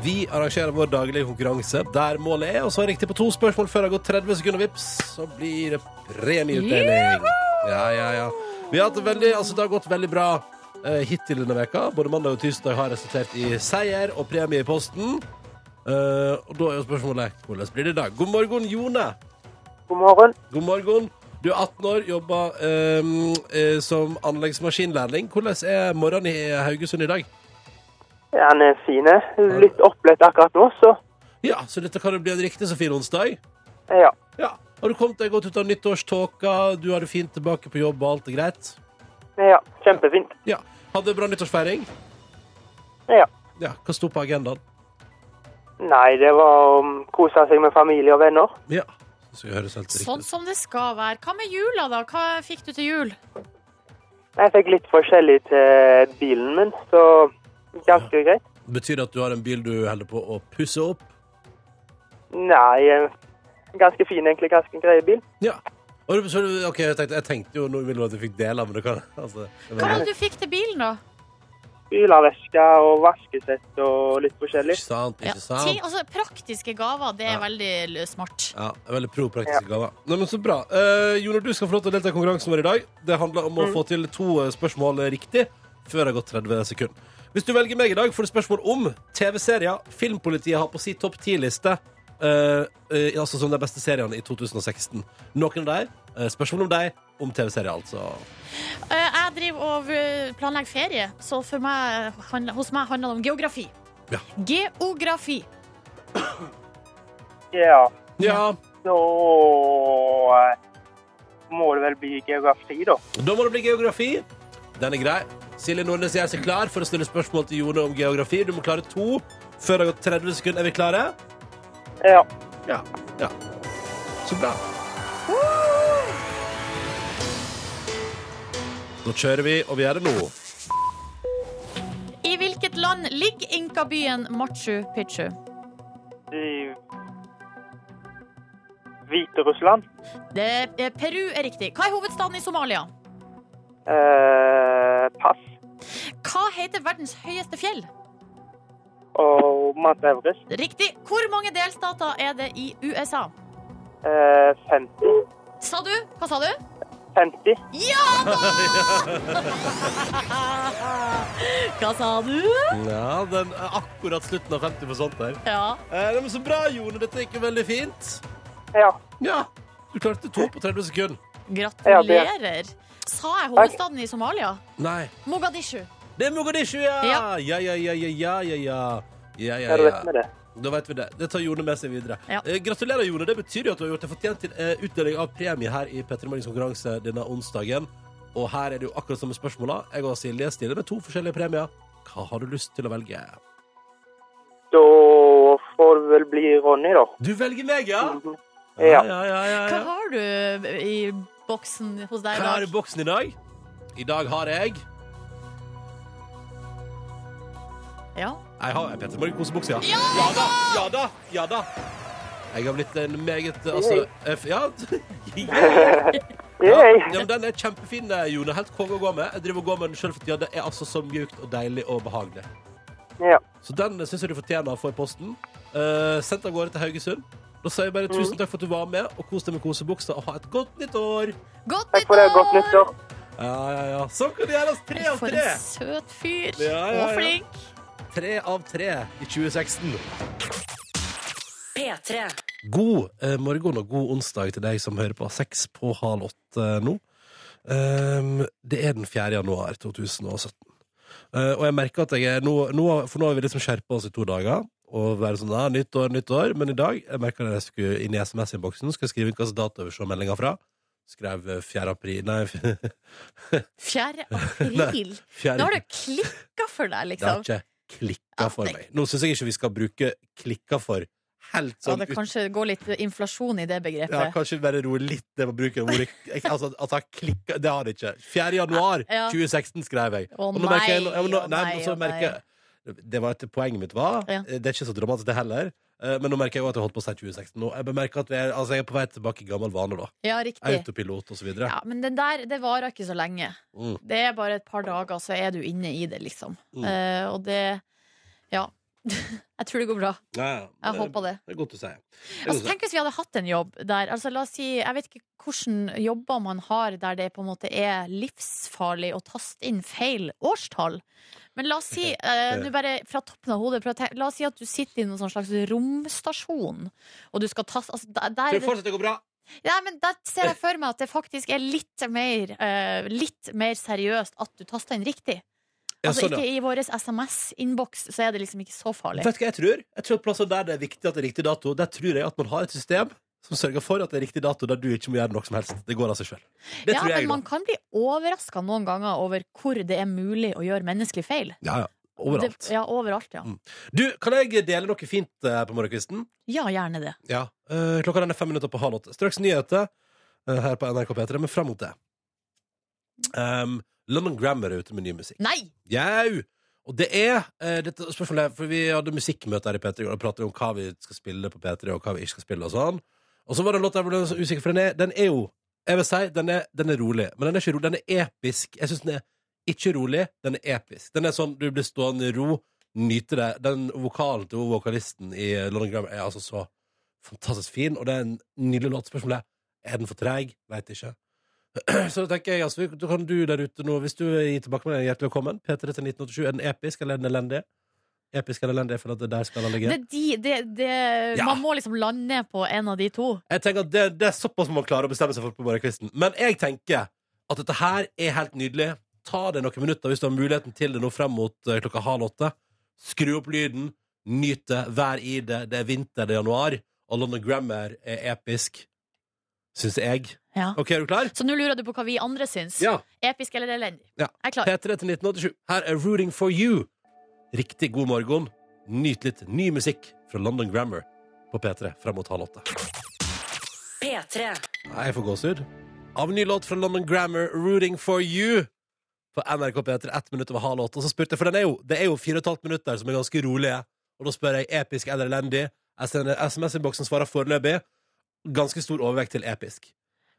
Vi arrangerer vår daglige konkurranse der målet er å svare riktig på to spørsmål før det har gått 30 sekunder vips, så blir det premieutdeling. Ja, ja, ja. Vi har hatt det veldig, altså det har gått veldig bra eh, hittil denne veka. Både mandag og tirsdag har resultert i seier og premie i posten. Eh, og da er jo spørsmålet hvordan blir det i dag? God morgen, Jone.
God morgen.
God morgen. Du er 18 år, jobber eh, eh, som anleggsmaskinlærling. Hvordan er morgenen i Haugesund i dag?
Ja, Han er fin. Litt oppbløtt akkurat nå, så
Ja, så dette kan jo bli en riktig så fin onsdag.
ja.
Ja. Har du kommet deg godt ut av nyttårståka? Du har det fint tilbake på jobb, og alt er greit?
ja. Kjempefint.
Ja. Hadde bra nyttårsfeiring?
Ja.
Ja. Hva sto på agendaen?
Nei, det var å kose seg med familie og venner.
Ja. Så skal vi høres helt riktig.
Sånn som det skal være. Hva med jula, da? Hva fikk du til jul?
Jeg fikk litt forskjellig til bilen min, så ganske greit.
Betyr det at du har en bil du holder på å pusse opp?
Nei, eh, ganske fin egentlig. Ganske grei bil.
Ja. Og du, så, du- ok, jeg tenkte, jeg tenkte jo nå ville du at jeg fikk dele, men du kan altså, jeg
Hva var
mener,
det du fikk til bilen, da?
Bilerveske og vaskesett og litt forskjellig.
Ikke sant?
Ja.
Ikke
Ti,
sant?
altså, praktiske gaver, det er veldig l- smart.
Ja, en Veldig pro praktiske gaver. Nei, men Så bra. Eh, Jonar, du skal få lov til å delta i konkurransen vår i dag. Det handler om å få til to eh, spørsmål riktig før det har gått 30 sekunder. Hvis du velger meg i dag, får du spørsmål om TV-serier Filmpolitiet har på sin topp 10-liste. eh, eh, altså som de beste seriene i 2016. Noen av dem. eh, spørsmål om deg, om TV-serier, altså.
Eh, Jeg driver og eh, planlegger ferie, så for meg, handler- hos meg handler det om geografi.
Ja.
Geografi.
Ja,
Ja,
så eh, må det vel bli geografi, da.
Da må det bli geografi. Den er grei. Silje Nordnes gjør seg klar for å stille spørsmål til Jone om geografi. Du må klare to før det har gått 30 sekunder. Er vi klare?
Ja.
Ja. ja. Så bra. Nå kjører vi, og vi gjør det nå.
I hvilket land ligger inkabyen Machu Picchu?
I Hviterussland.
Det, eh, Peru er riktig. Hva er hovedstaden i Somalia?
Eh, pass.
Hva heter verdens høyeste fjell?
Og Mount Everest.
Riktig. Hvor mange delstater er det i USA?
Eh, 50.
Sa du? Hva sa du?
50.
Ja da! Hva sa du?
Ja, den er akkurat slutten av 50 for sånt der.
Ja.
Eh, nei, men så bra, Jone. Dette gikk jo veldig fint.
Ja.
Ja. Du klarte to på 30 sekunder.
Gratulerer. Sa jeg hovedstaden i Somalia?
Nei.
Mogadishu.
Det er Mogadishu, ja! Ja, ja, ja, ja, ja, ja. ja, ja,
Ja, du vet
ja.
med det.
Da vet vi det. Det tar Jone med seg videre.
Ja.
Eh, gratulerer, Jone. Det betyr jo at du har gjort deg fortjent til eh, utdeling av premie her i Petter Morgens konkurranse denne onsdagen. Og her er det jo akkurat samme spørsmåla. Jeg og Silje stiller med to forskjellige premier. Hva har du lyst til å velge?
Da får det vel bli Ronny, da.
Du velger meg, ja?
Mhm. Ja.
ja, ja, ja,
Hva
ja.
har du i boksen hos deg i
Hva har du i
dag?
boksen i dag? I dag har jeg
Ja.
Jeg har en Petter Morgen kosebukse, ja. Ja da! Ja da! Ja da! Jeg har blitt en meget Altså F, Ja. Ja,
Yay.
ja, men den er kjempefin, eh, Jone. Helt konge å gå med. Jeg driver og går med den sjøl for tida. Det er altså så mjukt og deilig og behagelig.
Ja.
Så den syns jeg du fortjener å få i posten. Uh, Sendt av gårde til Haugesund. Da sier jeg bare tusen takk for at du var med, og kos deg med kosebuksa, og ha et godt nytt år!
Godt
Takk for det. Godt nyttår.
Ja, ja, ja. Sånn kan det gjøres. Tre av
For
tre!
en søt fyr.
Ja, ja, ja.
Og flink.
Tre av tre i 2016.
P3.
God eh, morgen og god onsdag til deg som hører på seks på halv åtte nå. Ehm, det er den 4. januar 2017. Eh, og jeg merker at jeg er nå, nå For nå har vi liksom skjerpa oss i to dager. Og være sånn, ja, nytt år, nytt år. Men i dag jeg merka jeg skulle inn i SMS-innboksen Skal skrive inn hvilken dato vi ser meldinga fra. Skrev eh, 4. april Nei, 4.
4. april. Nå har det klikka for deg,
Det har
liksom.
ikke klikka
Ja,
for
nei.
meg. Nå syns jeg ikke vi skal bruke klikka for helt
Ja,
sånn
det
ut-
kanskje går litt inflasjon i det
Ja,
begrepet.
kanskje bare roe litt det med bruken av ordet jeg- altså, At han klikker Det har det ikke. 4. januar
Ja.
2016 skrev jeg.
Å
Og nå
nei,
merker jeg, ja, men nå,
å
nei,
nei,
men så
å
merker jeg Det var et poenget mitt var
Ja.
eh, Det er ikke så dramatisk, det heller. eh, Men nå merker jeg jo at jeg holdt på å si 2016. Nå. Jeg bemerker at vi er, altså, jeg er på vei tilbake i gammel vane, da.
Ja, riktig.
Autopilot og så videre.
Ja, men den der, det varer ikke så lenge.
Mm.
Det er bare et par dager, så er du inne i det, liksom.
Mm.
Eh, og det Ja. Jeg tror det går bra.
Ja, ja.
Jeg håper det.
Det er godt å si. Det er
Altså,
godt å si.
tenk hvis vi hadde hatt en jobb der altså, la oss si, Jeg vet ikke hvilke jobber man har der det på en måte er livsfarlig å taste inn feil årstall. Men la oss si eh, nå bare fra toppen av hodet prøv å tenke, La oss si at du sitter i noen sånn slags romstasjon, og du skal taste altså,
Tror
der,
du
der,
fortsatt det går bra?
Nei, men Der ser jeg for meg at det faktisk er litt mer, eh, litt mer seriøst at du taster inn riktig.
Ja,
Altså,
sånn, ja.
ikke I vår SMS-innboks så er det liksom ikke så farlig.
Vet du hva jeg tror? Jeg tror at plasser der det er viktig at det er riktig dato, der tror jeg at man har et system som sørger for at det er riktig dato der du ikke må gjøre noe som helst. Det går av seg sjøl. Det
ja,
tror jeg.
men
da.
man kan bli overraska noen ganger over hvor det er mulig å gjøre menneskelig feil.
Ja, ja. Overalt.
Det, ja, overalt, ja.
Mm. Du, kan jeg dele noe fint eh, her på morgenkvisten?
Ja, gjerne det.
Ja. Eh, klokka den er fem minutter på halv åtte. Straks nyheter eh, her på NRK P3, men fram mot det. Um, London Grammar er ute med ny musikk.
Nei!
Jau! Og det er eh, dette spørsmålet er- For vi hadde musikkmøte her i P3 i går og pratet om hva vi skal spille på P3, og hva vi ikke skal spille og sånn. Og så var det en låt jeg ble så usikker, for den er, den er jo Jeg vil si, den er, den er rolig, men den er ikke rolig. Den er episk. Jeg syns den er ikke rolig, den er episk. Den er sånn du blir stående i ro, nyte det. Den vokalen til hun vokalisten i London Grammar er altså så fantastisk fin, og det er en nydelig låt. Spørsmålet er er den for treig? Veit ikke. Så da tenker jeg, altså, da kan du der ute nå, hvis du gir tilbakemelding, hjertelig velkommen. P3 til 1987. Er den episk eller er den elendig? Episk eller elendig, for at det der skal alle
Det,
ligge.
er de, det, det,
Ja.
Man må liksom lande på en av de to.
Jeg tenker at det, det er såpass man klarer å bestemme seg for på morgenkvisten. Men jeg tenker at dette her er helt nydelig. Ta det noen minutter hvis du har muligheten til det nå frem mot eh, klokka halv åtte. Skru opp lyden, nyt det, vær i det. Det er vinter, det er januar, og London Grammar er episk. Syns jeg.
Ja.
OK, er du klar?
Så nå lurer du på hva vi andre syns.
Ja.
Episk eller elendig?
Ja.
Jeg er klar.
P3 til 1987. Her er Rooting for you. Riktig god morgen. Nyt litt ny musikk fra London Grammar på P3 frem mot halv åtte.
P3.
Nei, Jeg får gåsehud. Av en ny låt fra London Grammar, Rooting for you. På NRK P3, ett minutt over halv åtte. Og så spurte jeg, for den er jo, det er jo fire og et halvt minutter som er ganske rolige. Og da spør jeg episk eller elendig. SMS-innboksen svarer foreløpig ganske stor overvekt til episk.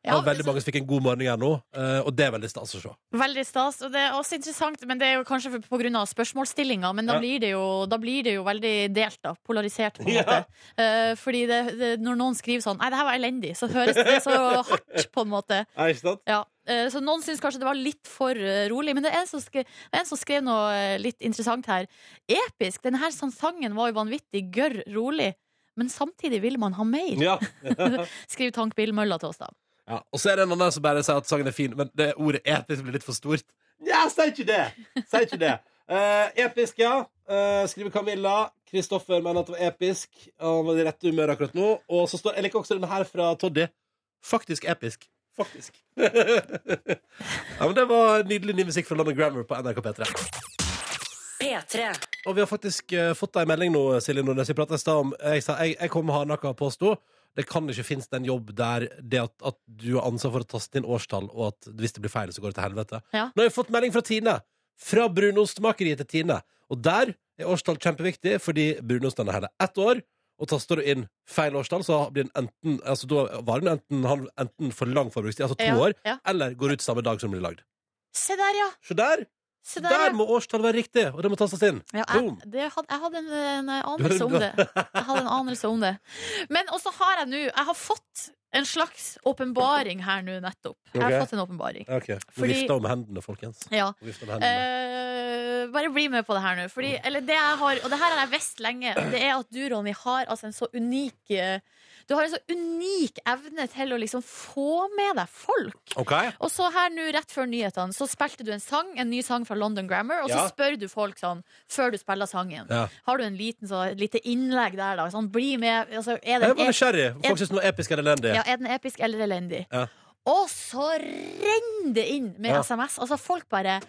Det
Ja,
var veldig mange som fikk en god morgen her nå, eh, og det er veldig stas å se.
Veldig stas. Og det er også interessant, men det er jo kanskje for- på grunn av spørsmålsstillinga. Men da,
Ja.
blir det jo, da blir det jo veldig delt, da. Polarisert, på en
Ja.
måte. Eh, fordi det, det, når noen skriver sånn Nei, det her var elendig. Så høres det så hardt, på en måte. Ja. Eh, så noen syns kanskje det var litt for eh, rolig. Men det er en som skrev, en som skrev noe eh, litt interessant her. Episk! Denne her sangen var jo vanvittig gørr rolig. Men samtidig vil man ha mer,
Ja.
skriver Tank Billmølla til oss, da.
Ja, Ja, og så er det en annen som bare sier at sangen er fin, men det ordet episk blir litt for stort. Ja, si ikke det! Si ikke det. Eh, episk, ja. Eh, skriver Camilla. Kristoffer mener at det var episk. Han var i rette humør akkurat nå. Og så står, Jeg liker også denne her fra Toddy. Faktisk episk. Faktisk. ja, men Det var nydelig ny musikk fra London Grammar på NRK P3.
P3.
Og vi har faktisk eh, fått ei melding nå, Silje Nordnes. Vi pratet i stad om Jeg sa jeg, jeg kom med hardnakka påsto. Det kan ikke finnes en jobb der det at, at du har ansvar for å taste inn årstall, og at hvis det blir feil, så går det til helvete.
Ja.
Nå har vi fått melding fra Tine. Fra brunostmakeriet til Tine. Og der er årstall kjempeviktig, fordi brunosten er hele ett år. Og taster du inn feil årstall, så blir den enten, altså, da var den enten, han- enten for lang forbrukstid, altså to
Ja,
år,
ja.
eller går ut samme dag som den blir lagd.
Se der, ja!
Så der,
Se
der,
der, ja.
må årstallet være riktig, og det må tastes inn.
Ja, jeg,
Boom.
det hadde, jeg hadde en, en
Du hadde-
anelse om det. Jeg hadde en anelse om det. Men også har jeg nå Jeg har fått en slags åpenbaring her nå nettopp. Jeg
Ok.
har fått en åpenbaring.
Ok, Nå
Fordi-
vifter om hendene, folkens.
Ja.
Nå vifter om hendene.
Eh, bare bli med på det her nå. Fordi, eller det jeg har, og det her har jeg visst lenge, det er at du, Ronny, har altså en så unik eh, Du har en så unik evne til å liksom få med deg folk.
Ok,
Eh, Og så her nå, rett før nyhetene, så spilte du en sang, en ny sang fra London Grammar, og så
Ja.
spør du folk sånn før du spiller sangen.
Ja.
Har du en liten, så, et lite innlegg der, da? Sånn, bli med. Altså,
Jeg
er, den
var
ep
nysgjerrig. Folk syns noe episk eller elendig.
ja, er den episk eller elendig?
Ja.
Og så renner det inn med
Ja.
SMS. Altså, folk bare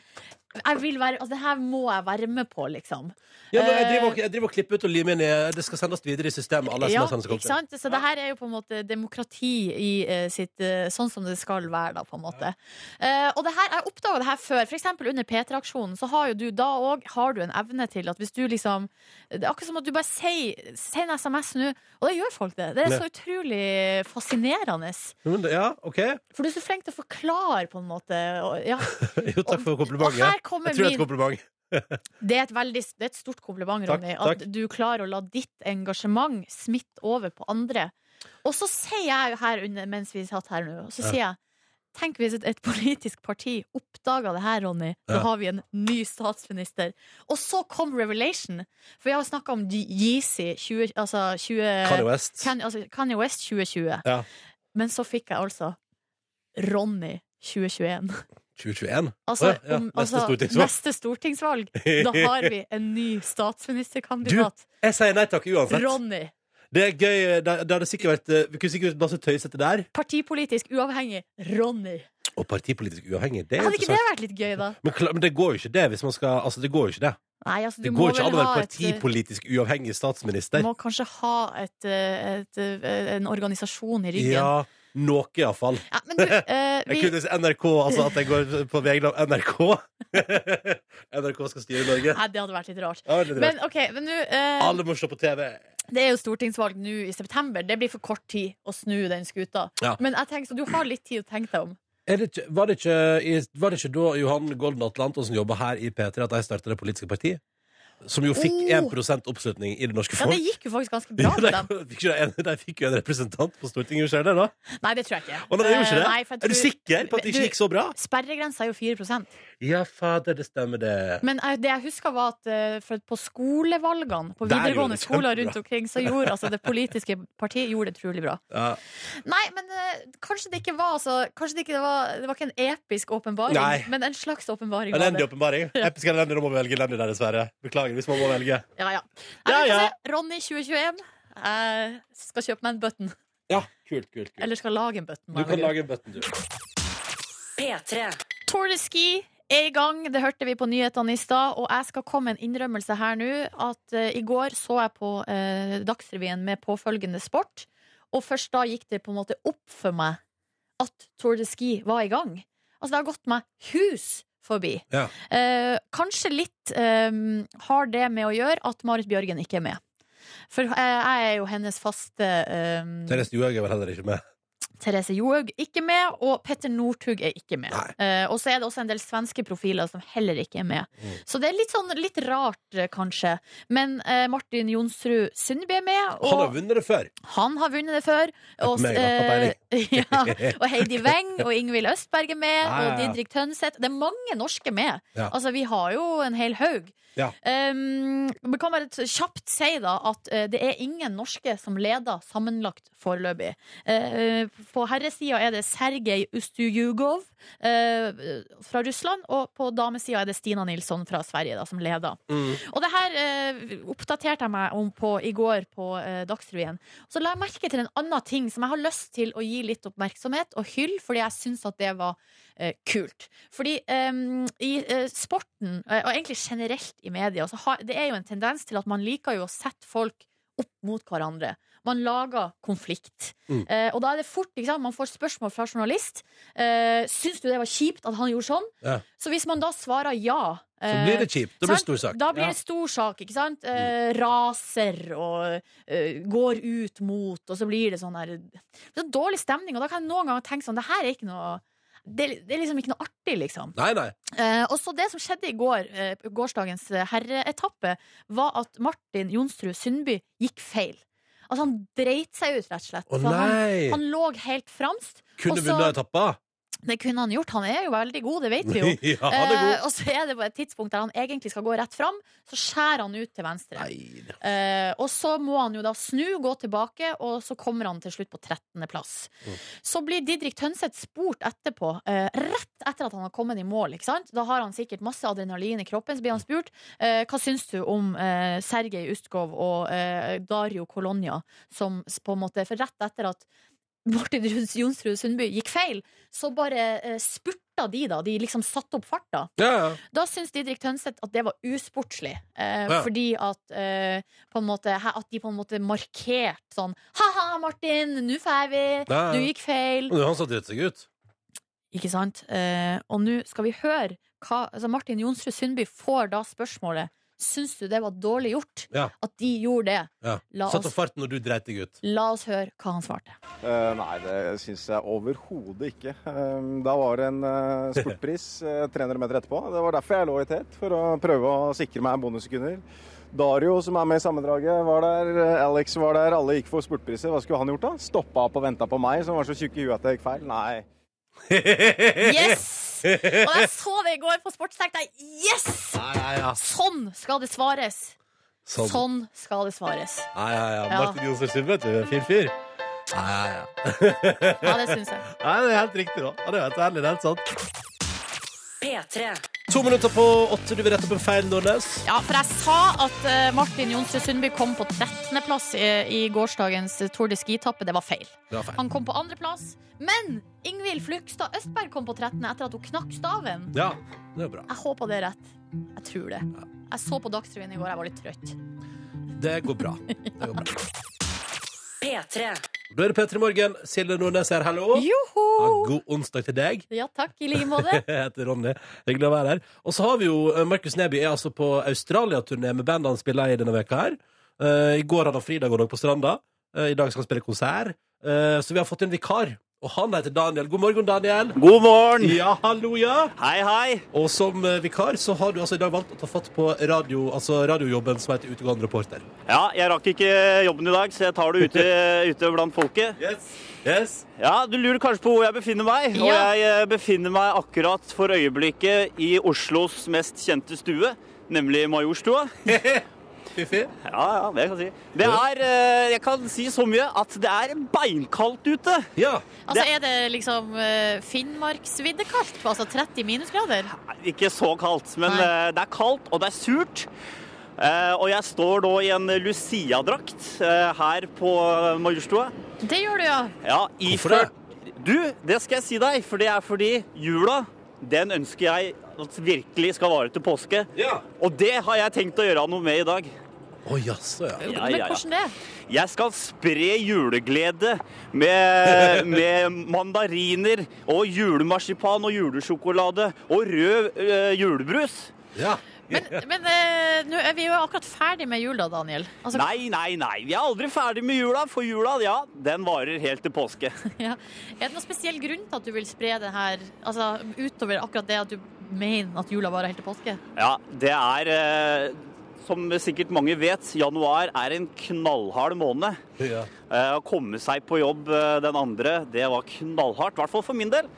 jeg vil være, altså, Det her må jeg være med på, liksom.
Ja, men jeg, driver, og- jeg driver og klipper ut og limer inn i Det skal sendes videre i systemet. Alle
Eh, Ja,
SMS-ene som kommer.
ikke sant? Så det her er jo på en måte demokrati i eh, sitt eh, Sånn som det skal være, da, på en måte. Eh, og det her, jeg oppdaga det her før. For eksempel under P3-aksjonen, så har jo du da òg Har du en evne til at hvis du liksom Det er akkurat som at du bare sier Send SMS nå. Og det gjør folk det. Det er
Ja.
så utrolig fascinerende.
Jo, men det- Ja, ok.
For du er så flink til å forklare, på en måte. Og, ja.
Jo, takk for
og her
komplimentet.
kommer
Jeg tror det er et
min
kompliment.
det er, et veldig, det er et stort kompliment,
Takk,
Ronny,
takk.
at du klarer å la ditt engasjement smitte over på andre. Og så sier jeg jo her under, mens vi satt her nå, så
Ja.
sier jeg Tenk hvis et, et politisk parti oppdaga det her, Ronny. Da
Ja.
har vi en ny statsminister. Og så kom Revelation. For vi har snakka om Yeezy 20, altså 20
Kanye West.
Kanye, altså Kanye West 2020.
Ja.
Men så fikk jeg altså Ronny 2021.
2021?
Altså,
Å, ja, ja. Neste
om, altså
stortingsvalg.
neste stortingsvalg. Da har vi en ny statsministerkandidat.
Jeg sier nei takk uansett.
Ronny.
Det er gøy. eh, Det, det hadde sikkert vært eh, Vi kunne sikkert vært masse tøysete der.
Partipolitisk uavhengig. Ronny.
Og partipolitisk uavhengig. Det er
Hadde ikke det
interessant.
vært litt gøy, da?
Men, kla- men det går jo ikke det hvis man skal Altså, det går jo ikke det.
Nei, altså, du
Det
må
går ikke
vel
an å
ha
være
et, eh,
partipolitisk uavhengig statsminister.
Må kanskje ha et, eh, et, eh, en organisasjon i ryggen. Ja.
Ja, noe iallfall.
men du, eh,
Jeg
vi
kunne si NRK, altså at jeg går på vegne av NRK. NRK skal styre Norge.
Nei, det hadde vært litt rart.
Ja, det er
Men
rart.
OK, men nå eh,
Alle må se på TV.
Det er jo stortingsvalg nå i september. Det blir for kort tid å snu den skuta.
Ja.
Men jeg tenker, så du har litt tid å tenke deg om.
Er det ikke, var, det ikke, i- var det ikke da Johan Golden Atlantonsen jobba her i P3 at de starta det politiske partiet? Som jo fikk
Oh.
1 oppslutning i det norske
Ja,
folk.
det gikk jo faktisk ganske bra
de,
for dem.
fikk jo en, de fikk jo en representant på Stortinget, skjer det da?
Nei, det tror jeg ikke.
Og nei, det gjorde ikke
Eh,
det?
nei, for jeg
Er du
tror-
sikker på at det ikke
Du-
gikk så bra?
Sperregrensa er jo 4
Ja, fader, det stemmer, det.
Men eh, det jeg husker, var at eh, for at på skolevalgene på
Der gjorde
videregående
det
skoler
kjempebra.
rundt omkring, så gjorde altså det politiske partiet gjorde det trolig bra.
Ja.
Nei, men eh, kanskje det ikke var så Kanskje det ikke var Det var ikke en episk åpenbaring,
Nei.
men en slags åpenbaring. var
Elendig
det.
åpenbaring. Episk eller elendig, da må vi velge elendig der, dessverre. Beklager hvis man må velge.
Ja, ja.
Ja,
Nei, vi får
ja.
se. Ronny 2021. Jeg skal kjøpe meg en button.
Ja, kult, kult, kult.
Eller skal lage en button. må
Du
jeg
kan
vel gjøre.
lage en button, du.
P3.
Tour de Ski er i gang, det hørte vi på nyhetene i stad. Og jeg skal komme med en innrømmelse her nå. At eh, i går så jeg på eh, Dagsrevyen med påfølgende sport. Og først da gikk det på en måte opp for meg at Tour de Ski var i gang. Altså det har gått meg hus forbi.
Ja.
Eh, kanskje litt eh, har det med å gjøre at Marit Bjørgen ikke er med. For eh, jeg er jo hennes faste eh,
Therese Johaug er vel heller ikke med.
Therese Johaug ikke med, og Petter Northug er ikke med. Eh, og så er det også en del svenske profiler som heller ikke er med.
Mm.
Så det er litt sånn litt rart, eh, kanskje. Men eh, Martin Jonsrud Sundby er med, og
Han har vunnet det før.
vunnet det før. Og,
meg, da,
eh, ja, og Heidi Weng og Ingvild Østberg er med,
Ja, ja,
og
ja.
Didrik Tønseth. Det er mange norske med.
Ja.
Altså, vi har jo en hel haug.
Ja.
Um, vi kan bare t- kjapt si da at eh, det er ingen norske som leder sammenlagt foreløpig. Eh, På herresida er det Sergej Ustujugov eh, fra Russland, og på damesida er det Stina Nilsson fra Sverige da, som leder.
Mm.
Og det her eh, oppdaterte jeg meg om på i går på eh, Dagsrevyen. Så la jeg merke til en annen ting som jeg har lyst til å gi litt oppmerksomhet og hyll, fordi jeg syns at det var eh, kult. Fordi eh, i eh, sporten, eh, og egentlig generelt i media, så har, det er jo en tendens til at man liker jo å sette folk opp mot hverandre. Man lager konflikt.
Mm.
Eh, og da er det fort, ikke sant? Man får spørsmål fra journalist. Eh, syns du det var kjipt at han gjorde sånn?
Ja.
Så hvis man da svarer ja
Så
eh,
blir det kjipt. Det blir
sant?
stor sak.
Da blir
Ja. Mm.
det stor sak, ikke sant? Eh, raser og eh, går ut mot, og så blir det sånn her så Dårlig stemning, og da kan jeg noen ganger tenke sånn Det her er ikke noe det, det er liksom ikke noe artig, liksom.
Nei, nei.
Eh, og så det som skjedde i går, eh, på gårsdagens herreetappe, var at Martin Jonsrud Sundby gikk feil. Altså, han dreit seg ut, rett og slett.
Å
For han,
nei!
han lå helt fremst.
Kunne
også-
vunnet etappa.
Det kunne han gjort. Han er jo veldig god, det vet vi jo.
ja, han er god.
Eh, og så er det på et tidspunkt der han egentlig skal gå rett fram, så skjærer han ut til venstre.
Nei.
Eh, og så må han jo da snu, gå tilbake, og så kommer han til slutt på 13. plass.
Mm.
Så blir Didrik Tønseth spurt etterpå, eh, rett etter at han har kommet i mål. Ikke sant? Da har han sikkert masse adrenalin i kroppen, så blir han spurt eh, hva syns du om eh, Sergej Ustkov og eh, Dario Kolonia, som s- på en måte For rett etter at Martin Ruds- Jonsrud Sundby gikk feil, så bare eh, spurta de, da. De liksom satte opp farta.
Ja, ja.
Da syns Didrik Tønseth at det var usportslig. Eh,
Ja.
Fordi at, eh, på en måte, he- at de på en måte markerte sånn Ha-ha, Martin! Nå får vi!
Ja, ja.
Du gikk feil!
Men det er Han som dritt seg ut.
Ikke sant? Eh, og nå skal vi høre hva altså Martin Jonsrud Sundby får da spørsmålet Syns du det var dårlig gjort
Ja.
at de gjorde det?
Ja.
La
Satt
oss,
opp farten når du dreit deg ut.
la oss høre hva han svarte.
Eh, nei, det syns jeg overhodet ikke. Eh, da var det en eh, spurtpris eh, 300 meter etterpå. Det var derfor jeg lå i tet, for å prøve å sikre meg bonussekunder. Dario, som er med i sammendraget, var der. eh, Alex var der. Alle gikk for spurtpriser. Hva skulle han gjort, da? Stoppa opp og venta på meg, som var så tjukk i huet at jeg gikk feil? Nei.
Yes! Og da jeg så det i går på Sports, tenkte jeg yes!
Nei, ja, ja.
Sånn skal det svares!
Sånn.
Sånn skal det svares.
Nei, ja, ja.
Ja.
Martin Jonsrud Sund, vet du. Fin fyr. Nei, ja, ja.
Ja, det syns jeg.
Nei, det er helt riktig, da. Ja, Det er helt ærlig, det er helt sant.
P3.
To minutter på åtte. Du vil rette opp en feil, Nordnes.
Ja, for jeg sa at eh, Martin Jonsrud Sundby kom på 13. plass i, i gårsdagens eh, Tour de Ski-tappe. Det var feil.
Det var feil.
Han kom på andre plass. Men Ingvild Flugstad Østberg kom på 13. etter at hun knakk staven.
Ja, det er bra.
Jeg håper det er rett. Jeg tror det. Jeg så på Dagsrevyen i går, jeg var litt trøtt.
Det går bra. Det går bra.
P3.
Da er det P3 Morgen. Silje Nordnes her, hallo. Ja,
Joho!
god onsdag til deg.
Ja takk, i like måte.
Jeg heter Ronny. Hyggelig å være her. Og så har vi jo eh, Markus Neby er altså på Australia-turné med bandet han spiller i denne veka her. Eh, I går hadde han fridag og dag på Stranda. Eh, I dag skal han spille konsert. Eh, så vi har fått en vikar, og han heter Daniel. God morgen, Daniel.
God morgen!
Ja, hallo, ja.
Hei, hei!
Og som eh, vikar så har du altså i dag valgt å ta fatt på radio, altså radiojobben som heter utegående reporter.
Ja, jeg rakk ikke jobben i dag, så jeg tar det ute, ute blant folket.
Yes. Yes.
Ja, du lurer kanskje på hvor jeg befinner meg, og
Ja.
jeg eh, befinner meg akkurat for øyeblikket i Oslos mest kjente stue, nemlig Majorstua.
Fiffi.
Ja, ja, det kan jeg si. Det er, eh, jeg kan si så mye at det er beinkaldt ute.
Ja.
Altså, er det liksom eh, Finnmarksviddekaldt? Altså 30 minusgrader?
Nei, Ikke så kaldt, men
Nei.
eh, det er kaldt, og det er surt. Eh, og jeg står da i en Lucia-drakt eh, her på Majorstua.
Det gjør du, ja.
Ja,
Hvorfor
iført Du, det skal jeg si deg, for det er fordi jula, den ønsker jeg at virkelig skal vare til påske.
Ja.
Og det har jeg tenkt å gjøre noe med i dag.
Å jaså, ja.
Ja,
Men
ja, ja.
hvordan det?
Jeg skal spre juleglede med, med mandariner og julemarsipan og julesjokolade og rød eh, julebrus.
ja.
Men, men eh, nå er vi jo akkurat ferdig med jula, Daniel. Altså,
Nei, nei, nei. Vi er aldri ferdig med jula, for jula, ja, den varer helt til påske.
Ja. Er det noen spesiell grunn til at du vil spre det her, altså, utover akkurat det at du mener at jula varer helt til påske?
Ja, det er eh, Som sikkert mange vet, januar er en knallhard måned.
ja.
Eh, Å komme seg på jobb eh, den andre, det var knallhardt. I hvert fall for min del.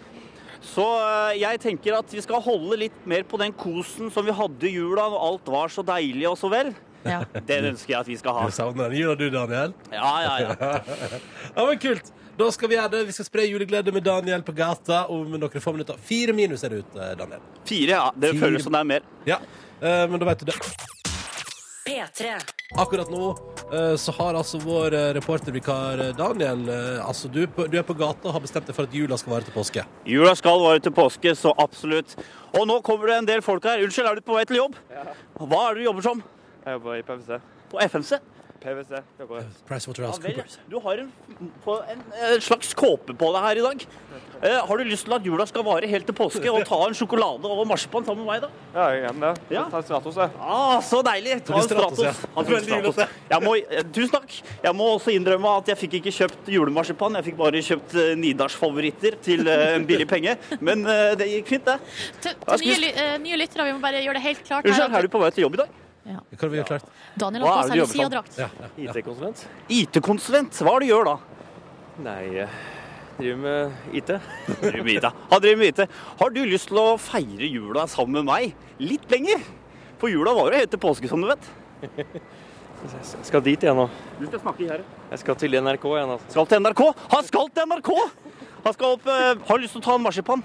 Så eh, jeg tenker at vi skal holde litt mer på den kosen som vi hadde i jula, når alt var så deilig og så vel.
Ja.
Den ønsker jeg at vi skal ha.
Du savner den. Gjør du, Daniel?
Ja, ja, ja.
Ja, men kult. Da skal vi gjøre det. Vi skal spre juleglede med Daniel på gata om noen få minutter. Fire minus er det ute, Daniel.
Fire, ja. Det
Fire.
føles som det er mer.
Ja, eh, men da vet du det.
P3.
Akkurat nå eh, så har altså vår eh, reportervikar eh, Daniel eh, Altså, du, er på- du er på gata og har bestemt deg for at jula skal vare til påske.
Jula skal vare til påske, så absolutt. Og nå kommer det en del folk her. Unnskyld, er du på vei til jobb? Hva er det du jobber som?
Jeg jobber i PwC.
På FMC?
PwC jobber jeg.
Ja, vel,
PricewaterhouseCoopers.
du har en, på en, en slags kåpe på deg her i dag. Eh, har du lyst til at jula skal vare helt til påske, og ta en sjokolade og marsipan sammen med meg, da?
Ja, jeg er hjemme der.
Ja.
Jeg tar Stratos, jeg.
Ah, så deilig! Ta
blir
en
Stratos,
Stratos.
ja.
Ha en
Det blir
Stratos.
Stratos.
Jeg må, eh, tusen takk. Jeg må også innrømme at jeg fikk ikke kjøpt julemarsipan. Jeg fikk bare kjøpt eh, Nidars-favoritter til eh, en billig penge. Men eh, det gikk fint, det.
Til,
Hva
til
skal vi
nye, ly- eh, nye lyttere, vi må bare gjøre det helt klart.
Unnskyld,
her
er du på vei til jobb i dag?
Hva har vi gjort klart?
at Daniel
Hva
har
er
på
det
seg
du jobber
Lucia-drakt.
som?
Ja, ja.
IT-konsulent?
IT-konsulent, hva er det du gjør da?
Nei, jeg driver med IT.
Driver med IT. Han driver med IT. Har du lyst til å feire jula sammen med meg litt lenger? For jula varer helt til påske, som du vet.
Jeg skal dit igjen nå.
Du skal snakke i gjerdet.
Jeg skal til NRK igjen, altså.
Skal til NRK. Han skal til NRK! Han skal opp eh, Har du lyst til å ta en marsipan?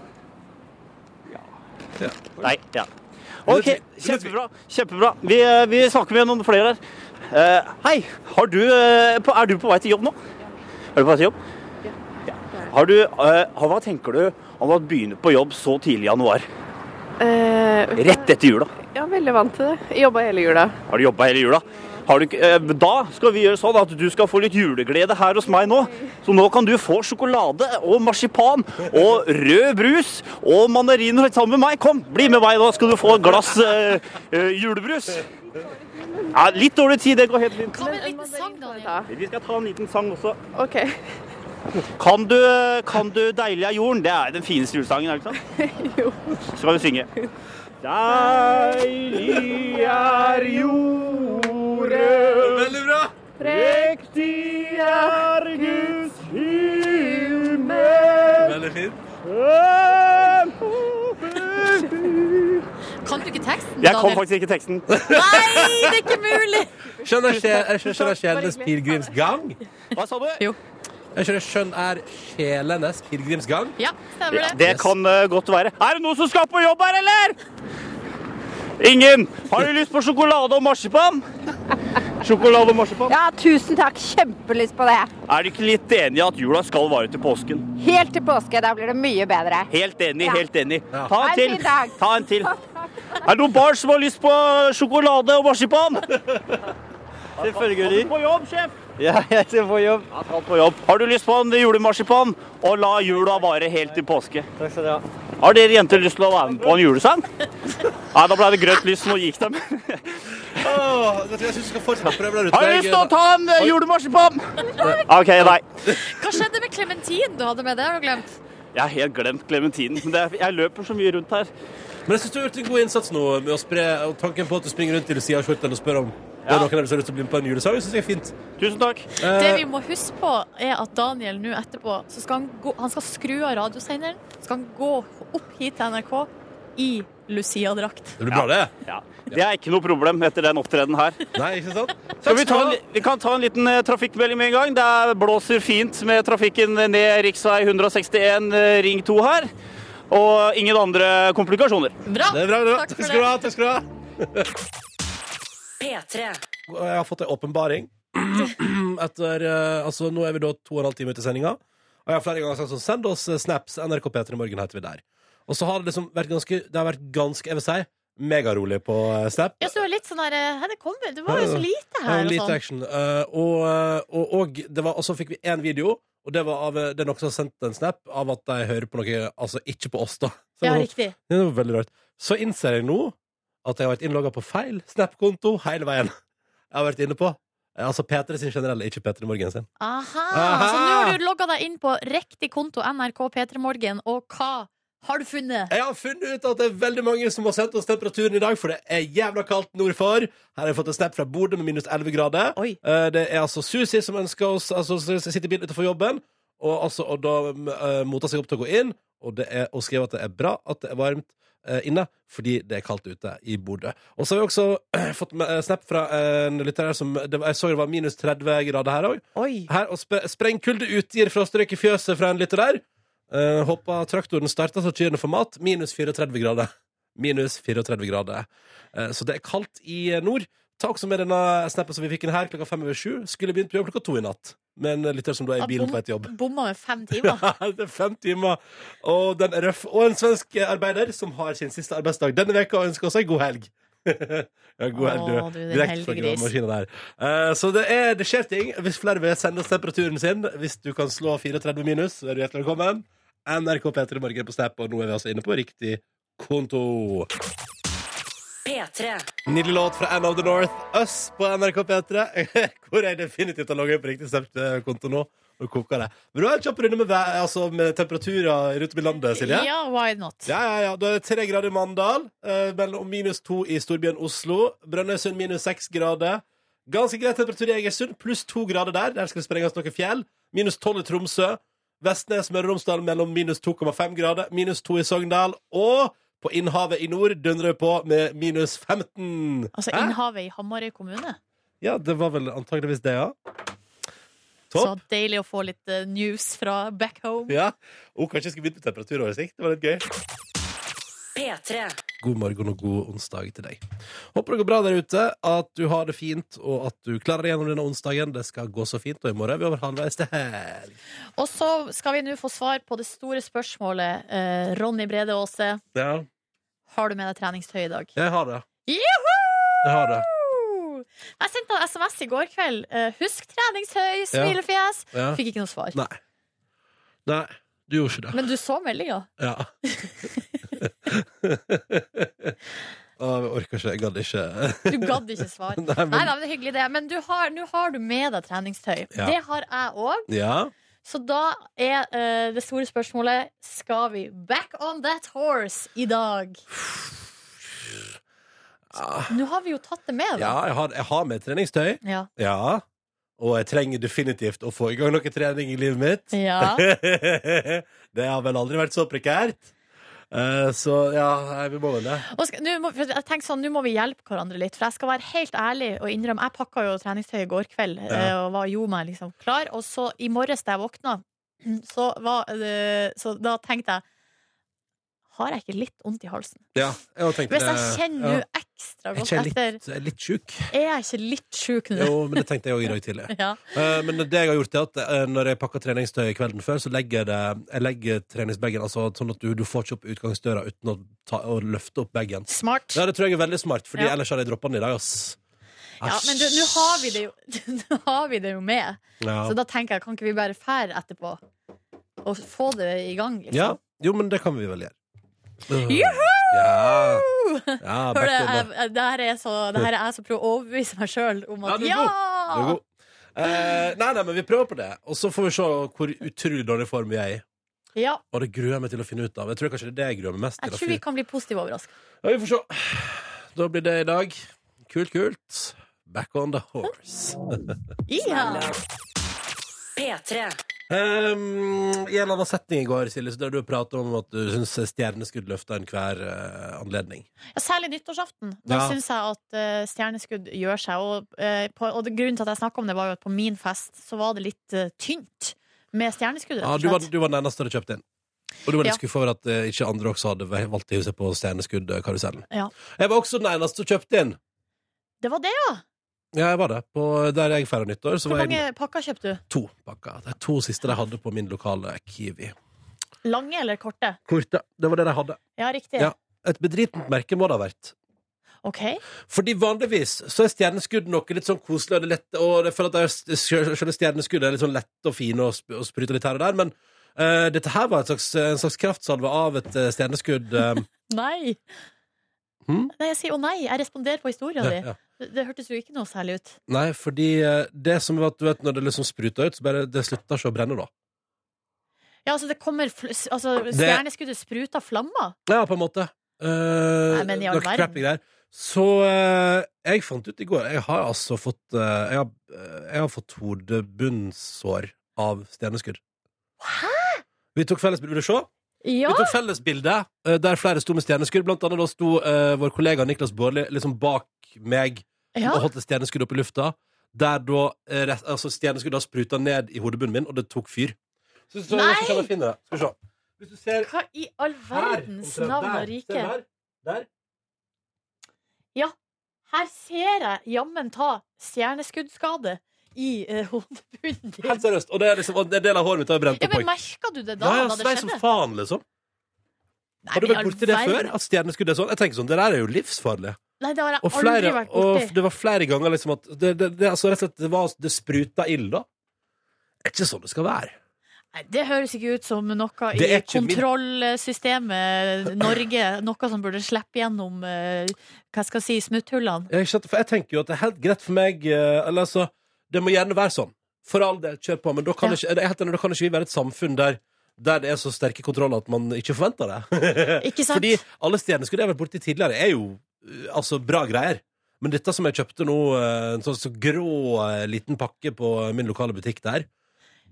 Ja.
Nei. Ja. OK, kjempebra. Kjempebra. Vi, eh, vi snakker med noen flere her. Eh, hei, har du, eh, på, er du på vei til jobb nå? Er du på vei til jobb? Ja. Har du, eh, hva tenker du om å begynne på jobb så tidlig i januar?
Eh,
Rett etter jula.
Ja, veldig vant til det. Jeg jobba hele jula.
Har du jobba hele jula? Har du, ikke- eh, da skal vi gjøre sånn at du skal få litt juleglede her hos meg nå. Så nå kan du få sjokolade og marsipan og rød brus og mandariner sammen med meg. Kom, bli med meg, da skal du få et glass eh, eh, julebrus. Ja, litt dårlig tid, det går helt fint.
Hva med en liten sang,
Skal jeg
Daniel?
ta?
Vi skal ta en liten sang også.
OK.
Kan du, eh, kan du 'Deilig av jorden'? Det er den fineste julesangen, er det ikke sant? jo. Skal vi synge. Deilig er jorden
Veldig bra!
Prektig er Guds himmel
Veldig fint.
Kan du ikke teksten,
Jeg kom
Daniel?
faktisk ikke i teksten.
Nei, det er ikke mulig!
Skjønner ikke Jeg skjønner sjelenes pilegrims gang.
Hva sa du?
Jo.
Jeg skjønner skjønn er sjelenes pilegrims gang.
Ja, stemmer
Ja,
det.
det kan eh, godt være. Er det noen som skal på jobb her, eller? Ingen. Har du lyst på sjokolade og marsipan? Sjokolade og marsipan.
Ja, tusen takk. Kjempelyst på det.
Er du ikke litt enig i at jula skal vare til påsken?
Helt til påske, da blir det mye bedre.
Helt enig,
Ja.
helt enig.
Ja.
Ta
Ha
en
en
til.
fin dag.
Ta en til. Er det noen barn som har lyst på sjokolade og marsipan?
Selvfølgelig.
På jobb, sjef.
Ja, jeg skal på jobb.
Ja, ta på jobb. Har du lyst på en julemarsipan? Og la jula vare helt til påske.
Takk skal du ha.
Har dere jenter lyst til å være med på en julesang? Nei, da ble det grønt lys, så nå gikk de.
Åh, vet du, jeg syns du skal fortsette å prøve der ute.
Har du lyst til å ta en eh, julemarsipan? OK, nei.
Hva skjedde med Clementine du hadde med? Det har du glemt.
Jeg har helt glemt klementinen. men det er- Jeg løper så mye rundt her.
Men jeg syns du har gjort en god innsats nå med å spre og tanken på at du springer rundt i Lucia-skjorten og spør om det
Ja.
er noen av dem som har lyst til å bli med på en julesang. Det synes jeg er fint.
Tusen takk.
Eh.
Det vi må huske på, er at Daniel nå etterpå så skal han, gå, han skal skru av radiosenderen. Så skal han gå opp hit til NRK i Lucia-drakt.
Det blir bra, det.
Ja. Det er ikke noe problem etter den opptredenen her.
Nei, ikke sant?
Skal
Takk skal
vi, ta en,
du ha.
li- vi kan ta en liten eh, trafikkmelding med en gang. Det er- blåser fint med trafikken ned rv. 161 eh, Ring 2 her. Og ingen andre komplikasjoner.
Bra!
Det er bra, det er bra.
Takk
Takk
for
skal du
det.
ha. Takk skal du ha.
P3.
Og jeg har fått en åpenbaring. Etter, eh, altså, nå er vi da to og en halv time ut i sendinga. Og jeg har flere ganger sagt sånn, send oss eh, snaps. NRK P3 Morgen heter vi der. Og så har det liksom vært ganske, det har vært ganske, jeg vil si, megarolig på eh, Snap.
Ja, så det var litt sånn der eh, Hei, det kommer. Det var jo så lite
Det var
her. Og
lite
sånn.
action. Eh, og, eh, og, og, det var, og så fikk vi én video, og det var av eh, det er noen som har sendt en snap av at de hører på noe Altså ikke på oss, da. Så det
Ja,
var-
riktig.
det var veldig rart. Så innser jeg nå at jeg har vært innlogga på feil Snap-konto hele veien. Jeg har vært inne på eh, Altså P3 sin generelle, ikke P3 Morgen sin.
Aha.
Aha.
Så nå har du logga deg inn på riktig konto NRK P3morgen, og hva har du funnet?
Jeg har funnet ut at det er veldig mange som har sendt oss temperaturen i dag, for det er jævla kaldt nordfor. Her har jeg fått en snap fra Bodø med minus 11 grader.
Oi.
Eh, Det er altså Susi som ønsker oss Altså som sitter i bilen utenfor jobben, mm, eh, og, altså, og da uh, moter seg opp til å gå inn, og, det er, og skriver at det er bra at det er varmt. eh, inne fordi det er kaldt ute i Bodø. Og så har vi også fått med, eh, snap fra en lytter her som det, var- Jeg så det var minus 30 grader her òg.
Oi.
Her, og sp Sprengkulde utgir frostryk i fjøset fra en lytter der. Eh, håper traktoren starter så kyrne får mat. Minus 34 grader. Minus 34 grader. Eh, så det er kaldt i eh, nord. Ta også med denne snappen som vi fikk inn her klokka fem over sju. Skulle begynt på jobb klokka to i natt. Men eh, lytter som da er i
Ja,
bilen på
bom-
et jobb.
Bomma med fem
Ja,
timer.
det er fem timer, og den er røff. Og en svensk arbeider som har sin siste arbeidsdag denne veka og ønsker seg god helg. ja, god helg,
Å,
du.
du, din
Direkte fra
helggris.
gravemaskinen der. Eh, så det, er, det skjer ting. Hvis flere vil sende oss temperaturen sin, hvis du kan slå 34 minus, så er du hjertelig velkommen. NRK P3 Morgen på Snap, og nå er vi altså inne på riktig konto.
P3.
Nydelig låt fra Anne of the North, Us på NRK P3. Hvor jeg definitivt har logget inn på riktig Snap-konto nå. Nå koker det. Men du har en kjapp runde med, vær- altså med temperaturer rundt om i landet, Silje.
Ja, why not?
Ja, ja, ja. Da er det tre grader i Mandal, eh, mellom minus to i storbyen Oslo. Brønnøysund minus seks grader. Ganske grei temperatur i Egersund, pluss to grader der. Der skal det sprenges noen fjell. Minus tolv i Tromsø. Vestnes, Møre og Romsdal mellom minus 2,5 grader, minus to i Sogndal. Og på Innhavet i nord dundrer det på med minus 15.
Altså
Hæ?
Innhavet i Hamarøy kommune.
Ja, det var vel antageligvis det, ja.
Så
Topp.
deilig å få litt eh, news fra back home.
Ja. Oh, kanskje jeg skulle begynt på temperaturoversikt. Det var litt gøy.
P3.
God morgen og god onsdag til deg. Håper det går bra der ute, at du har det fint, og at du klarer deg gjennom denne onsdagen. Det skal gå så fint, og i morgen er vi over halvveis til helg.
Og så skal vi nå få svar på det store spørsmålet. Eh, Ronny Brede Aase,
Ja,
har du med deg treningstøy i dag?
jeg har det.
Juhu!
Jeg har det.
Jeg sendte en SMS i går kveld. Eh, Husk treningstøy, smilefjes.
Ja.
Fikk ikke noe svar.
Nei. Nei, du gjorde ikke det.
Men du så meldinga.
Ja. Å, jeg orker ikke. Jeg gadd ikke.
Du gadd ikke svar. Nei,
Nei, men
da, men det er hyggelig, det. Men du har- nå har du med deg treningstøy.
Ja.
Det har jeg òg.
Ja.
Så da er eh, det store spørsmålet Skal vi back on that horse i dag? Nå har vi jo tatt det med,
Ah. ja
da.
jeg, har, jeg har med treningstøy.
Ja.
Ja. Og jeg trenger definitivt å få i gang noe trening i livet mitt.
Ja.
det har vel aldri vært så prekært. Eh, så ja, nei, vi må vel det.
Og skal, nå må, for jeg tenker sånn, nå må vi hjelpe hverandre litt, for jeg skal være helt ærlig og innrømme Jeg pakka jo treningstøy i går kveld eh, og var, gjorde meg liksom klar, og så i morges da jeg våkna, så, var, eh, så da tenkte jeg Har jeg ikke litt vondt i halsen?
Ja, jeg har tenkt
Hvis jeg
det-
kjenner
ja.
nå ekstra
Jeg
godt
kjenner
etter
litt, jeg er litt sjuk.
Er jeg ikke litt sjuk nå?
Jo, men det tenkte jeg òg i dag tidlig.
Ja.
Eh, men det jeg har gjort, er at eh, når jeg pakker treningstøy kvelden før, så legger jeg, det, jeg legger treningsbagen altså, sånn at du, du får ikke opp utgangsdøra uten å, ta, å løfte opp bagen.
Smart.
Ja, det tror jeg er veldig smart, Fordi
Ja.
ellers hadde jeg droppa den i dag, ass.
Ja, men du, nå har vi det jo Nå har vi det jo med.
Ja.
Så da tenker jeg, kan ikke vi bare fære etterpå? Og få det i gang, liksom.
ja. Jo, men det kan vi vel gjøre.
Juhu!
Ja. Ja,
Hør
back
det,
on the-
jeg, jeg- det, her er så, det her er jeg som prøver å overbevise meg sjøl om at
Ja, du er
ja!
Du er god. Eh, nei, nei, men vi prøver på det. Og så får vi se hvor utrolig dårlig form vi er i.
ja!
Og det gruer jeg meg til å finne ut av. Jeg tror kanskje det er det jeg gruer meg mest til.
Jeg
å
tror vi
finne-
kan bli positivt overraska.
Ja, vi får se. Da blir det i dag. Kult, kult. Back on the horse.
P3.
Ehm, I en annen setning i går, Silje, så drev du og pratet om at du syns stjerneskudd løfter enhver eh, anledning.
Ja, særlig nyttårsaften. Da
Ja.
syns jeg at eh, stjerneskudd gjør seg. Og, eh, på, og det, grunnen til at jeg snakka om det, var jo at på min fest så var det litt eh, tynt med stjerneskudd.
Ja,
rett
du
og
var,
slett.
du var den eneste som kjøpte inn. Og du var litt
Ja.
skuffa over at eh, ikke andre også hadde valgt å hive seg på stjerneskuddkarusellen.
Ja.
Jeg var også den eneste som kjøpte inn.
Det var det, ja!
Ja, jeg var det. På, der jeg feira nyttår, så
Hvor
var jeg
mange pakker kjøpte du?
to pakker. De to siste de hadde på min lokale Kiwi.
Lange eller korte?
Korte. Det var det de hadde.
Ja, riktig.
Ja. Et bedritent merke må det ha vært.
OK.
Fordi vanligvis så er stjerneskudd noe litt sånn koselig og det er lett, og jeg føler at det er- sjø- sjøle stjerneskuddet er litt sånn lett og fine og, sp og spruter litt her og der, men eh, dette her var en slags, en slags kraftsalve av et eh, stjerneskudd. eh,
Nei.
Hm?
Nei, jeg sier å nei. Jeg responderer på historia
ja,
di.
ja.
Det, det hørtes jo ikke noe særlig ut.
Nei, fordi eh, det som var at du vet, når det liksom spruter ut, så bare det slutter ikke å brenne da.
Ja, altså det kommer fl s- altså, Stjerneskuddet spruter flammer.
Ja, på en måte. Eh,
Nei, men i all
noe
verden.
crappy greier. Så eh, jeg fant ut i går Jeg har altså fått eh, jeg, har, eh, jeg har fått hodebunnsår av stjerneskudd. Hæ?! Vi tok felles Vil du se? Vi
Ja,
tok fellesbilde eh, der flere sto med stjerneskudd. Blant annet da sto eh, vår kollega Niklas Baarli liksom bak meg
ja.
og holdt et stjerneskudd opp i lufta. Der da eh, rett- altså stjerneskudd da spruta ned i hodebunnen min, og det tok fyr. Så, så,
Nei!
så kan jeg finne det. Skal vi se. Hvis du ser
Hva i all verdens
omtrent
navn
der,
og
ser
rike?
du Der, der.
Her ser jeg jammen ta stjerneskuddskade i eh, hodebunnen din.
Helt seriøst. Og det er liksom, og en del av håret mitt har brent
Ja,
opp.
men
også.
merka du det da?
Ja, ja,
da det
svei som
skjedde?
faen, liksom.
Nei,
Har du
men i
vært
all
borti det
verden.
før? At stjerneskudd er sånn? Jeg tenker sånn, Det der er jo livsfarlig.
Nei, det har jeg
Og, flere,
aldri vært borti.
og det var flere ganger liksom at Det, det, det, altså, rett og slett, det, var, det spruta ild, da. Det er ikke sånn det skal være.
Nei, det høres ikke ut som noe i
Det er ikke min-
kontrollsystemet Norge. Noe som burde slippe gjennom eh, hva skal jeg si, smutthullene.
Jeg, skjønner- for jeg tenker jo at det er helt greit for meg eh, Eller altså, det må gjerne være sånn. For all del, kjør på. Men da kan,
Ja.
ikke, jeg er helt enig, da kan ikke vi være et samfunn der, der det er så sterke kontroller at man ikke forventer det.
Ikke sant?
Fordi alle stjerneskudd jeg har vært borti tidligere, er jo eh, altså bra greier. Men dette som jeg kjøpte nå, eh, en sånn så grå eh, liten pakke på min lokale butikk der,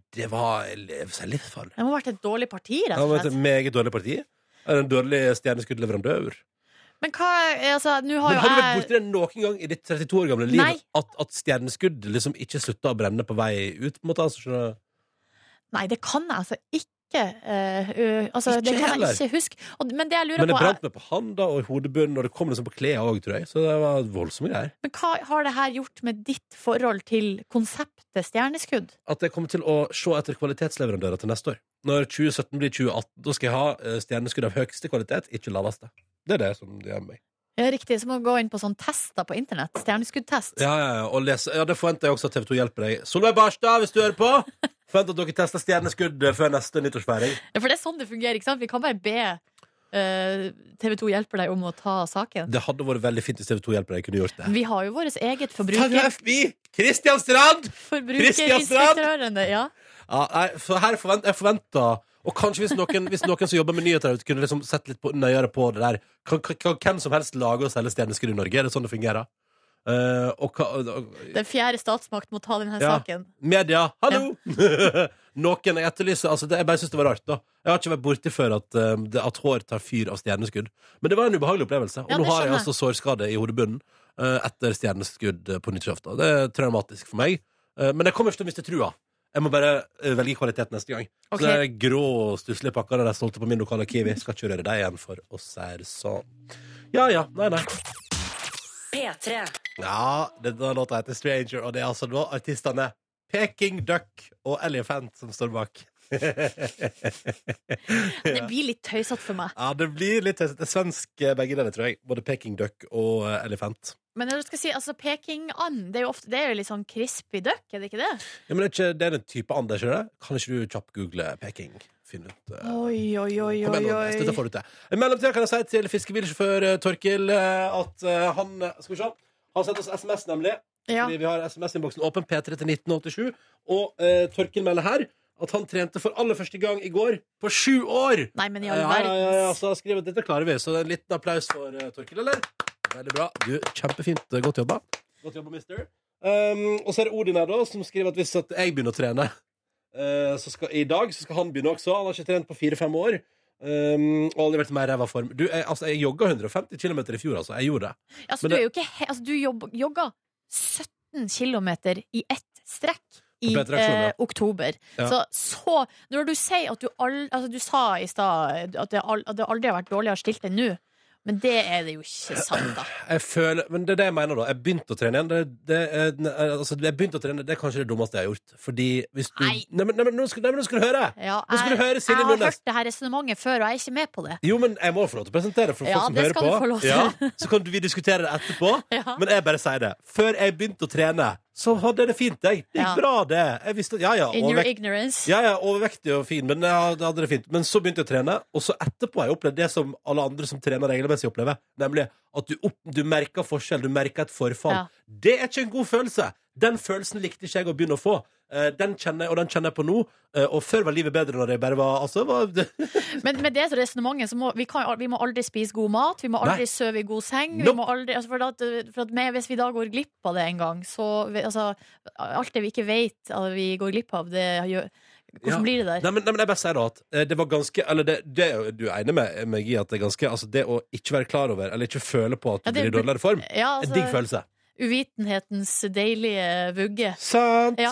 det var liv- livsfarlig.
Det må ha vært et dårlig parti, rett
Han
og
var et
slett.
meget dårlig parti. Er En dårlig stjerneskuddleverandør.
Men hva Altså, nå har
Men har du
jo
vært
jeg
borti det noen gang i ditt 32 år gamle liv?
Nei.
At, at stjerneskudd liksom ikke slutta å brenne på vei ut? på en måte, altså, skjønner du?
Nei, det kan jeg altså ikke. eh, ø, altså,
Ikke
det kan
heller.
jeg ikke huske. Og, men det jeg lurer
Men det
på, eh
brant meg på handa og i hodebunnen, og det kom liksom på klærne òg, tror jeg. Så det var voldsomme greier.
er men hva har det her gjort med ditt forhold til konseptet stjerneskudd?
At jeg kommer til å se etter kvalitetsleverandører til neste år. Når 2017 blir 2018, da skal jeg ha eh, stjerneskudd av høyeste kvalitet, ikke laveste. Det er det som det gjør meg.
Ja, riktig, så må du gå inn på sånne tester på internett. Stjerneskuddtest.
Ja, ja, ja, og lese. ja, det forventer jeg også at TV 2 hjelper deg. Solveig Barstad, hvis du hører på! Forvent at dere tester stjerneskudd før neste nyttårsfeiring.
Ja, For det er sånn det fungerer, ikke sant? Vi kan bare be TV 2 hjelper deg om å ta saken.
Det hadde vært veldig fint hvis TV 2 hjelper deg kunne gjort det.
Vi har jo vårt eget
Faen, vi har
forbruker,
FBI! Kristian Strand! Christian Strand!
forbrukerinspektørene. Ja.
Ja, nei, for her forvent, jeg forventer Og kanskje hvis noen, hvis noen som jobber med nyheter der ute, kunne liksom sett litt på, nøyere på det der. Kan, kan, kan hvem som helst lage og selge stjerneskudd i Norge? Er det sånn det fungerer? Eh, og, hva- og,
Den fjerde statsmakt må ta denne
Ja.
saken.
media, hallo! noen jeg etterlyser altså det, Jeg bare syns det var rart, da. Jeg har ikke vært borti før at, eh, det, at hår tar fyr av stjerneskudd. Men det var en ubehagelig opplevelse. Og
Ja,
nå har
det
jeg
skjønner
altså sårskade i hodebunnen eh, etter stjerneskudd eh, på nyttårsaften. Det er traumatisk for meg. Eh, men jeg kommer ikke til å miste trua. Jeg må bare eh, velge kvalitet neste gang.
Ok.
Så det er grå, stusslige pakker der jeg solgte på min lokale Kiwi. Skal ikke røre deg igjen, for å si det sånn. Ja ja. Nei, nei.
P3.
Ja, denne låta heter Stranger, og det er altså nå artistene Peking Duck og Elephant som står bak.
Det blir litt tøysete for meg.
Ja, det blir litt det er svensk eh, begge dere, tror jeg. Både Peking Duck og eh, Elephant.
Men når du skal si altså, Pekingand, det er jo ofte det er jo litt sånn crispy duck, er det ikke det?
Ja, men det er ikke det er en type and, er ikke det? Kan ikke du kjappgoogle Peking? Finne ut eh,
Oi, oi, oi,
Kom igjen, Nordnes, dette får du til. I mellomtida kan jeg si til fiskebilsjåfør eh, Torkil eh, at eh, han eh, Skal vi se. Han sendte oss SMS, nemlig.
Ja.
Fordi vi har SMS-innboksen åpen, P3 til 1987. Og eh, Torkil melder her at han trente for aller første gang i går på sju år!
Nei, men i
Ja,
all
ja, ja, ja, altså.
verdens.
så jeg skriver at dette klarer vi. Så en liten applaus for eh, Torkil, eller? Veldig bra. Du, kjempefint. Godt jobba. Godt jobba, mister. Um, og så er det Odin her, da, som skriver at hvis at jeg begynner å trene eh, så skal, i dag, så skal han begynne også. Han har ikke trent på fire-fem år. Um, og aldri vært i mer ræva form. Du, jeg, altså, jeg jogga 150 km i fjor, altså. Jeg gjorde det.
Altså,
men
du
det-
er jo ikke he altså, Du jobb, jogga 17 km i ett strekk. I
På ett reaksjon, ja.
eh, oktober.
Ja.
Så, så Når du sier at du all, altså, Du sa i stad at, det all- at det aldri har vært dårligere stilt enn nå. Men det er det jo ikke sant, da.
Jeg føler, men det er det jeg mener, da. Jeg begynte å trene igjen. Det, det, er- ne- altså, jeg begynte å trene, det er kanskje det dummeste jeg har gjort. Fordi hvis du
Nei.
Nei, men, nei, men nå, skal, nei, men nå skal du høre!
Ja,
Nå skal du
jeg,
høre Silje
jeg har
Nordnes.
hørt det her resonnementet før, og jeg er ikke med på det.
Jo, men jeg må få lov til å presentere for
Ja,
folk som
det
hører
skal
på.
du få lov til.
Ja, så kan vi diskutere det etterpå.
Ja.
Men jeg bare sier det. Før jeg begynte å trene, så hadde jeg det fint, jeg. Det gikk
Ja.
bra, det. Jeg visste, ja, ja,
In your
overvekt,
ignorance.
ja, ja, overvektig og fin, men jeg hadde- hadde det fint. Men så begynte jeg å trene, og så etterpå har jeg opplevd det som alle andre som trener regelmessig opplever, nemlig at du, opp, du merker forskjell, du merker et forfall.
Ja.
Det er ikke en god følelse. Den følelsen likte ikke jeg å begynne å få. Eh, Den kjenner jeg, og den kjenner jeg på nå. Eh, Og før var livet bedre når jeg bare var, altså, var
Men med det resonnementet så må vi, kan, vi må aldri spise god mat, vi må aldri sove i god seng. Vi
Nope.
må aldri, altså for at, for at med, hvis vi da går glipp av det en gang, så vi- altså, Alt det vi ikke vet at vi går glipp av, det gjør Hvordan
Ja.
blir det der?
Nei, men, nei, men jeg bare sier da at eh, det var ganske Eller det, det er jo- du er enig med meg i at det er ganske Altså det å ikke være klar over, eller ikke føle på at du
Ja, det
blir i
er bu-
dårligere form,
Ja,
en
altså,
digg følelse.
Uvitenhetens deilige vugge.
Sant!
Ja.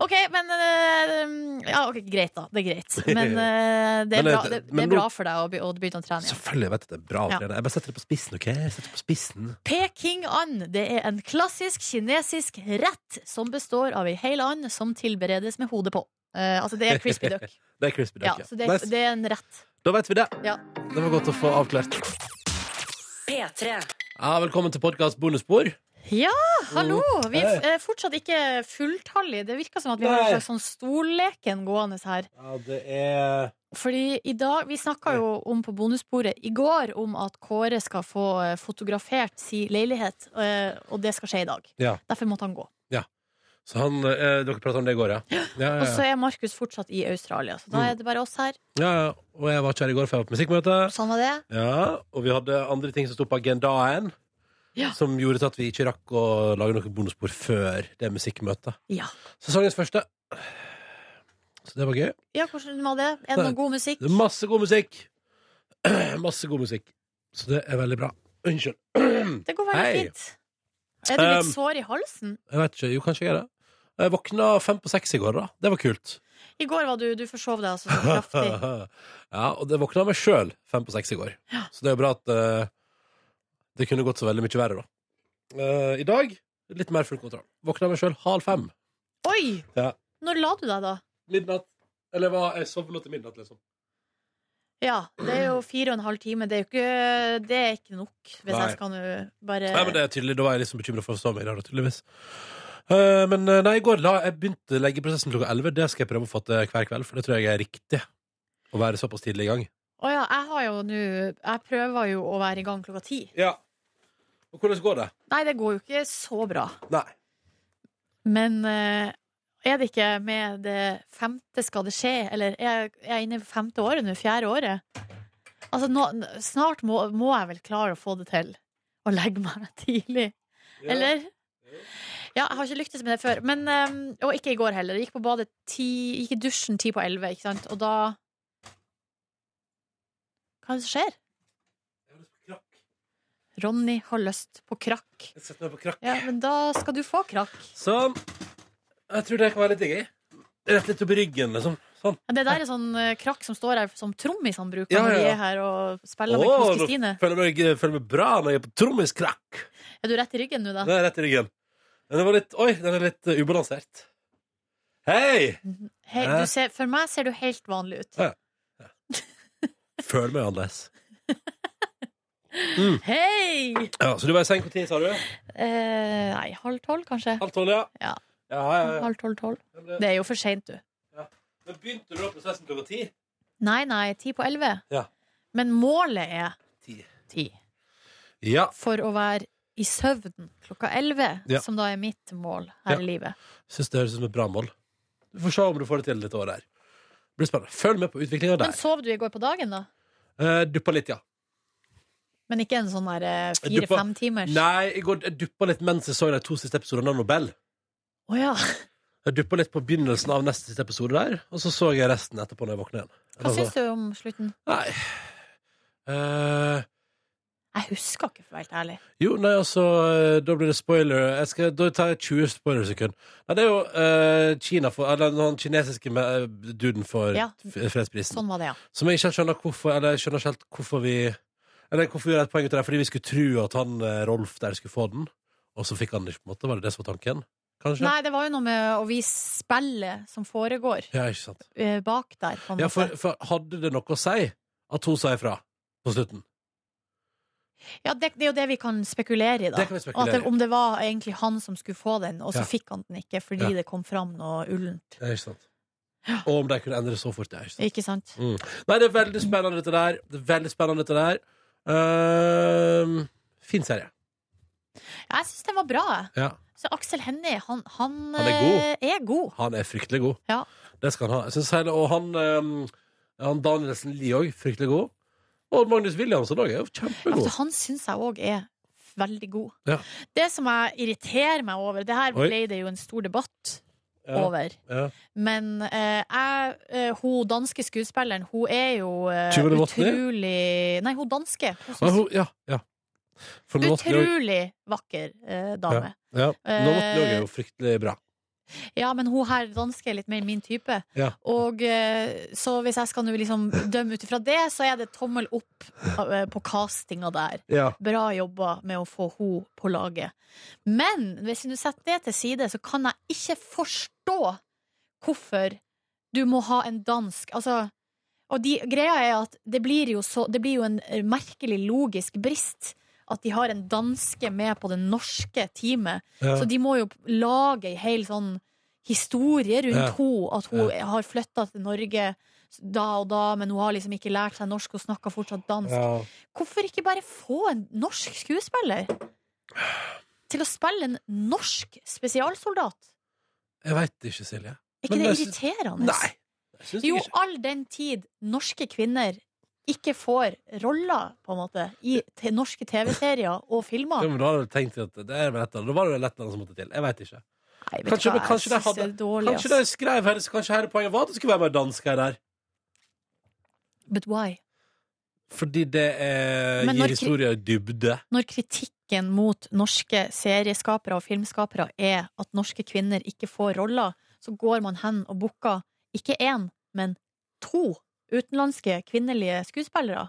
OK, men eh, Ja, ok, greit, da. Det er greit. Men eh, det
Men,
er bra,
eh,
det, det
men
er
nå-
bra for deg å, be, å begynne å trene igjen.
Selvfølgelig jeg vet at det er bra å
Ja.
trene. Jeg bare setter det på spissen, OK? Jeg setter det på spissen.
Peking and det er en klassisk kinesisk rett som består av ei hel and som tilberedes med hodet på. Eh, altså, det er crispy duck.
Det er crispy
Ja,
duck. ja.
så det,
Nice.
det er en rett.
Da vet vi det.
Ja.
Det var godt å få avklart.
P3.
Ja, velkommen til podkast bonusspor.
Ja, hallo! Vi
Mm. Hei.
er f- eh, fortsatt ikke fulltallige. Det virker som at vi har
Nei.
en slags sånn stolleken gående her.
Ja, det er
Fordi i dag, Vi snakka jo om på bonussporet i går om at Kåre skal få eh, fotografert si leilighet, eh, og det skal skje i dag.
Ja.
Derfor måtte han gå.
Så han eh, Dere prata om det i går, ja? Ja, ja,
Og så
ja. Mm.
er Markus fortsatt i Australia, så da er det bare oss her.
ja, ja. Og jeg var ikke her i går, for jeg var på musikkmøte.
Sånn var det.
Ja, og vi hadde andre ting som sto på agendaen.
Ja.
Som gjorde at vi ikke rakk å lage noen bonusspor før det musikkmøtet.
Ja.
Sesongens første. Så det var gøy.
Ja, hvordan var det? Er det
Nei,
noe god musikk?
Det er masse god musikk. masse god musikk. Så det er veldig bra. Unnskyld. jeg
Det går veldig
Hei.
fint. Er du litt
Um,
sår i halsen?
vet ikke. Jo, kanskje jeg er det. Jeg våkna fem på seks i går, da. Det var kult.
I går var du Du forsov deg altså så kraftig.
ja, og det våkna meg sjøl fem på seks i går. Så det er jo bra at eh, det kunne gått så veldig mye verre, da. Eh, I dag litt mer full kontroll. Våkna meg sjøl halv fem.
Oi!
Ja.
Når la du deg, da?
Midnatt. Eller hva? Jeg sov nå til midnatt, liksom.
Ja, det er jo fire og en halv time. Det er jo ikke, det er ikke nok, hvis
Nei.
jeg skal nå bare
Nei, men det er tydelig, Da var jeg liksom bekymra for å sove i dag, da, tydeligvis. Eh, men eh, nei, i går la jeg begynte leggeprosessen klokka elleve. Det skal jeg prøve å få til hver kveld, for det tror jeg er riktig. Å være såpass tidlig i gang.
Å ja, jeg har jo nå Jeg prøver jo å være i gang klokka ti.
Ja. Og hvordan går det?
Nei, det går jo ikke så bra.
Nei.
Men eh, er det ikke med det femte skal det skje? Eller er jeg, er jeg inne i femte året nå? Fjerde året? Altså, nå, snart må, må jeg vel klare å få det til. Å legge meg tidlig. Eller? Ja, jeg har ikke lyktes med det før. Men, eh, og ikke i går heller. Jeg gikk på badet ti, gikk i dusjen ti på elleve, ikke sant? Og da Hva er det som skjer? Ronny har lyst på krakk.
Jeg setter meg på krakk.
Ja, men da skal du få krakk.
Sånn. Jeg tror det kan være litt digg. jeg. Rett litt opp i ryggen, liksom. Sånn.
Ja, det der er sånn eh, krakk som står her som trommisene bruker
Ja, ja,
når de
ja.
er her og spiller med
Åh,
Kos
nå
Kristine.
føler jeg meg, føler meg bra når jeg er på trommiskrakk.
Er du rett i ryggen nå, da?
Det er rett i ryggen. Den var litt, oi, den er litt eh, ubalansert. Hei!
Hei,
Hæ?
du ser, for meg ser du helt vanlig ut.
Ja. Føler meg annerledes.
Hei!
Ja, så du var i seng på ti, sa du?
Eh, nei, halv tolv, kanskje.
Halv tolv, ja?
Ja.
ja, ja, ja.
Halv tolv, tolv.
Men,
Det er jo for seint, du.
men begynte du da prosessen klokka ti?
Nei, nei, ti på elleve.
Ja.
Men målet er
Ti.
ti.
Ja.
For å være i søvn klokka elleve,
Ja.
som da er mitt mål her
Ja.
i livet.
Syns det høres ut som et bra mål. Vi får se om du får det til dette året her. Det blir spennende. Følg med på utviklinga
Men
der.
sov du i går på dagen, da?
Uh, duppa litt, ja.
Men ikke en sånn der eh,
Du på-
fire-fem timers?
Nei, i går jeg duppa litt mens jeg så de to siste episodene av Nobel.
Å ja.
Jeg duppa litt på begynnelsen av neste siste episode der, og så så jeg resten etterpå når jeg våkna igjen.
Hva syns du om slutten?
Nei. Eh,
Jeg husker ikke, for å være helt ærlig.
jo, nei, altså eh, Da blir det spoiler. Jeg skal, da tar jeg 20 spoilersekund. Nei, det er jo eh, Kina for Eller den kinesiske me- eh, duden for
Ja.
f- fredsprisen.
Sånn var det, ja.
Som jeg ikke helt skjønner hvorfor Eller jeg skjønner ikke helt hvorfor vi Eller hvorfor vi gjør et poeng ut av det Fordi vi skulle tro at han eh, Rolf der skulle få den Og så fikk han den ikke på en måte Var det det som var tanken? Kanskje?
Nei, det var jo noe med å vise spillet som foregår
Ja, ikke sant
eh, bak der, på en
Ja,
måte.
for, for hadde det noe å si At hun sa ifra På slutten
Ja, det, det er jo det vi kan spekulere i, da.
Det kan vi spekulere
Og at det,
i.
om det var egentlig han som skulle få den, og så
Ja.
fikk han den ikke fordi
Ja.
det kom fram noe ullent.
Ja, ikke sant Og om de kunne endre så fort Ja, ikke sant
Ikke sant?
Nei, det er veldig spennende dette der Det er veldig spennende dette der Ehm, Fin serie
Jeg syns den var bra, jeg.
Ja
Så Aksel Hennie, han, han,
Han er
eh, er god.
Han er fryktelig god.
Ja.
Det skal han ha. Jeg synes hele, og han, ehm, han Danielsen Lie òg, fryktelig god. Og Magnus Williamson òg er jo kjempegod.
Altså, han syns jeg òg er veldig god.
Ja.
Det som jeg irriterer meg over Det her
Oi.
ble det jo en stor debatt
Ja.
over.
Ja.
Men eh, jeg, eh, hun danske skuespilleren, hun er jo eh,
Tuva Novotny?
utrolig Nei, hun danske. Hun
Ja,
synes-
hun- ja, ja. For nå måtte det jo-
utrolig vakker eh, dame.
ja. Nå måtte det
Eh,
jo fryktelig bra.
Ja. men hun her danske er litt mer min type.
Ja.
Og eh, så hvis jeg skal nå liksom dømme ut ifra det, så er det tommel opp eh, på castinga der.
Ja.
Bra jobba med å få hun på laget. Men hvis du setter det til side, så kan jeg ikke forstå hvorfor du må ha en dansk Altså og de, greia er at det blir, jo så, det blir jo en merkelig logisk brist at de har en danske med på det norske teamet.
Ja.
Så de må jo lage ei hel sånn historie rundt
Ja.
henne. At hun har flytta til Norge da og da, men hun har liksom ikke lært seg norsk og snakker fortsatt dansk.
Ja.
Hvorfor ikke bare få en norsk skuespiller til å spille en norsk spesialsoldat?
Jeg veit ikke, Silje.
Er ikke
Men
det
jeg syns-
irriterende?
Nei. Jeg syns
Jo,
ikke.
all den tid norske kvinner ikke får roller, på en måte, i te norske TV-serier
Ja,
og filmer.
men da hadde jeg tenkt at det er vel et eller annet. Da var det vel et eller annet som måtte til. Jeg veit ikke.
Nei, vet du
Kanskje,
hva,
men kanskje,
jeg
de hadde,
synes det er dårlig,
kanskje de
ass.
skrev her, så kanskje her poenget var at det skulle være mer dansk her der.
But why?
Fordi det er,
Men
gir
når kri-
historier dybde.
Når kritikken mot norske serieskapere og filmskapere er at norske kvinner ikke får roller, så går man hen og booker ikke én, men to utenlandske kvinnelige skuespillere.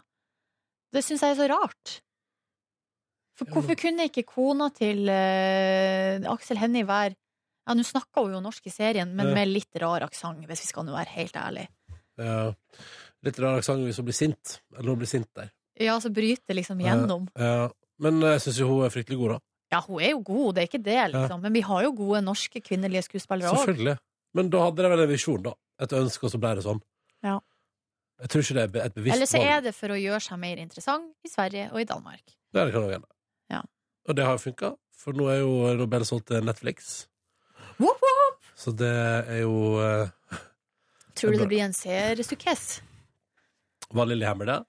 Det syns jeg er så rart. For
Ja,
hvorfor
men-
kunne ikke kona til eh, Aksel Hennie være Ja, nå snakka hun jo norsk i serien, men
Ja.
med litt rar aksent, hvis vi skal nå være helt ærlige.
Ja. Eh, Litt rar aksent hvis hun blir sint. Eller hun blir sint der.
Ja, så bryter liksom gjennom.
Ja. Men jeg syns jo hun er fryktelig god, da.
Ja, hun er jo god, det er ikke det, liksom. Men vi har jo gode norske kvinnelige skuespillere òg.
Selvfølgelig. Men da hadde de vel en visjon, da. Et ønske, og så ble det sånn.
Ja.
Jeg tror ikke det er be- et
Eller
bevisst
så
valg.
er det for å gjøre seg mer interessant i Sverige og i Danmark.
Det er det kan jeg gjerne.
Ja.
Og det har jo funka, for nå er jo Nobel solgt til Netflix.
Woop
Så det er jo eh, Det
Tror
er bra.
du det blir en seriesukess?
Var Lillehammer det?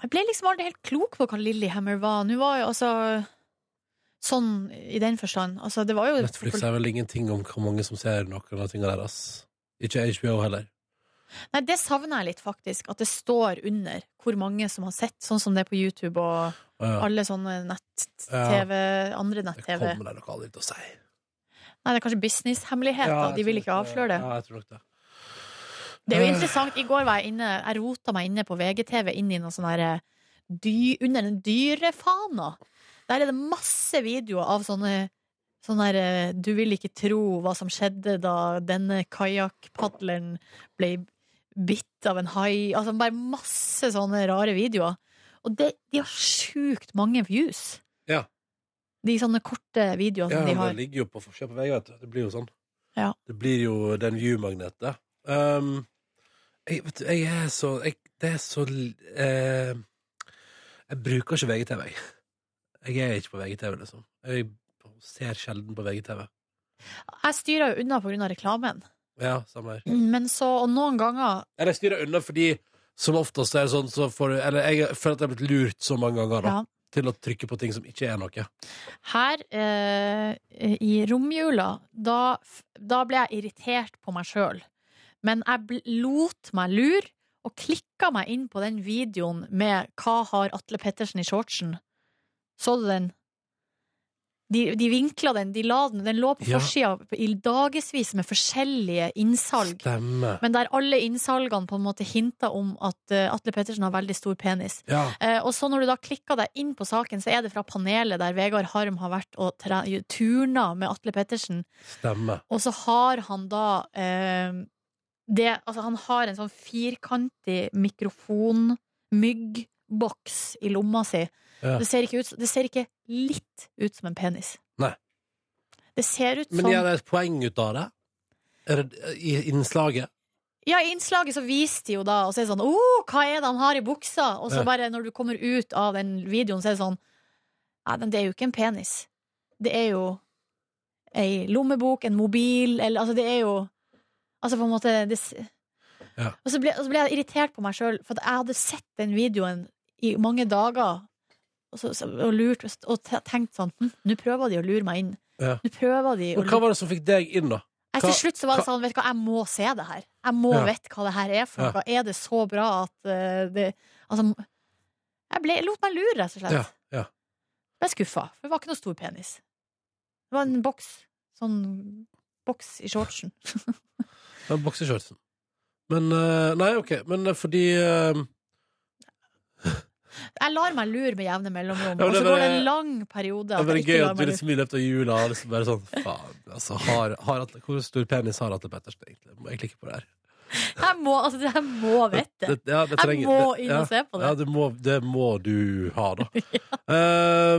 Jeg ble liksom aldri helt klok på hva Lillehammer var. Nå var jo altså sånn i den forstand. Altså, det var jo
Netflix er vel ingenting om hvor mange som ser noen av tingene deres. Ikke HBO heller.
Nei, det savner jeg litt, faktisk. At det står under hvor mange som har sett, sånn som det er på YouTube
Å
og
ja,
alle sånne nett-TV, andre
det
nett-TV.
kommer de nok aldri til å si.
Nei, det er kanskje businesshemmeligheter.
Ja, jeg
De vil
tror
ikke
nok
avsløre det.
Ja, jeg tror nok det.
Det
Øh.
er jo interessant. I går var jeg inne Jeg rota meg inne på VGTV inn i noe sånn her dy, Under den dyrefana. Der er det masse videoer av sånne Sånn der eh, Du vil ikke tro hva som skjedde da denne kajakkpadleren ble bitt av en hai. Altså bare masse sånne rare videoer. Og det, de har sjukt mange views.
Ja.
De sånne korte videoene
Ja, men
som Altså, de
det
har.
ligger jo på forsida på VG, vet du. Det blir jo sånn.
Ja.
Det blir jo den view-magnetet. Um, jeg, vet du, jeg er så jeg, Det er så l- eh, Jeg bruker ikke VGTV, jeg. Jeg er ikke på VGTV, liksom. Jeg ser sjelden på VGTV.
Jeg styrer jo unna pga. reklamen.
Ja, samme her.
Men så, og noen ganger
Eller jeg styrer unna fordi som oftest er det sånn så får du Eller jeg føler at jeg er blitt lurt så mange ganger da,
ja,
til å trykke på ting som ikke er noe.
Her eh, i romjula, da, f- da ble jeg irritert på meg sjøl. Men jeg bl lot meg lure og klikka meg inn på den videoen med 'Hva har Atle Pettersen i shortsen?' Så du den? De, de vinkla den, de la den, den lå på
Ja.
forsida i dagevis med forskjellige innsalg.
Stemme.
Men der alle innsalgene på en måte hinta om at eh, Atle Pettersen har veldig stor penis.
Ja.
Eh, og så når du da klikker deg inn på saken, så er det fra panelet der Vegard Harm har vært og tre- turna med Atle Pettersen.
Stemme.
Og så har han da eh, det Altså, han har en sånn firkantig mikrofonmyggboks i lomma si.
Ja.
Det, ser ikke ut, det ser ikke litt ut som en penis.
Nei.
Det ser ut
Men
som
gjør de et poeng ut av det? Er det I innslaget?
Ja, i innslaget så viste de jo da, og så er det sånn oh, hva er det han har i buksa? Og så
Ja.
bare når du kommer ut av den videoen, så er det sånn Nei, men det er jo ikke en penis. Det er jo ei lommebok, en mobil, eller altså det er jo Altså på en måte det, s-
Ja.
og, så ble, og så ble jeg irritert på meg sjøl, for at jeg hadde sett den videoen i mange dager. Og, så, så, og lurt og tenkt sånn hm, Nå prøver de å lure meg inn.
Ja.
Nå prøver de å
Men hva var det som fikk deg inn, da?
Nei,
Hva-
til slutt så var det sånn, vet du hva, jeg må se det her. Jeg må
Ja.
vite hva det her er for
Ja.
noe. Er det så bra at eh, det Altså, jeg, ble, jeg lot meg lure, rett og slett.
Ja, ja.
Ble skuffa, for det var ikke noe stor penis. Det var en boks. Sånn boks i shortsen.
Den bokseshortsen. Men eh, Nei, OK. Men eh, fordi eh,
Jeg lar meg lure med jevne mellomrom,
Ja, men
og så
det er
går det
bare-
en lang periode
Det
at
var
jeg
gøy
ikke lar
at du
meg lure.
liksom i løpet av jula har liksom bare sånn Faen, altså. Har, har Atle, hvor stor penis har Atle Pettersen egentlig? Må jeg klikke på det her?
Jeg må, altså, jeg må vite det.
ja, liksom- det
Jeg
trenger-
må
det-
inn og se på det.
Ja, det må, det må du ha, da. Eh,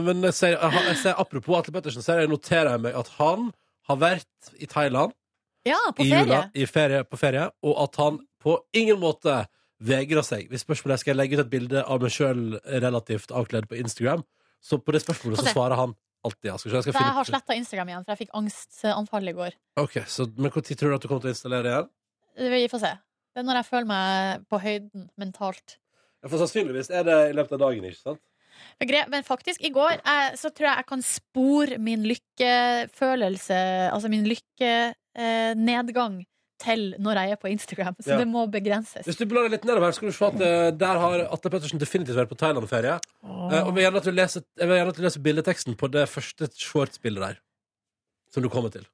men jeg ser, jeg, har- jeg ser, apropos Atle Pettersen, så jeg noterer jeg meg at han har vært i Thailand
Ja, på
i
ferie.
jula, i ferie, på ferie, og at han på ingen måte vegrer seg. Hvis spørsmålet er skal jeg legge ut et bilde av meg sjøl relativt avkledd på Instagram, så på det spørsmålet
Få
så
se.
svarer han alltid ja. Skal vi se, jeg skal
Så jeg
finne
har sletta Instagram igjen, for jeg fikk angstanfall i går.
Ok, så, Men når tror du at du kommer til å installere igjen?
Vi får se. Det er når jeg føler meg på høyden mentalt.
Ja, For sannsynligvis er det i løpet av dagen, ikke sant?
Men gre- Men faktisk, i går eh, så tror jeg jeg kan spore min lykkefølelse, altså min lykkenedgang, til når jeg er på Instagram. Så
Ja.
det må begrenses.
Hvis du blar litt nedover her, skal du se at eh, der har Atle Pettersen definitivt vært på Thailand-ferie. Eh, og jeg vil gjerne at du leser, jeg vil gjerne at du leser bildeteksten på det første shortsbildet der. Som du kommer til.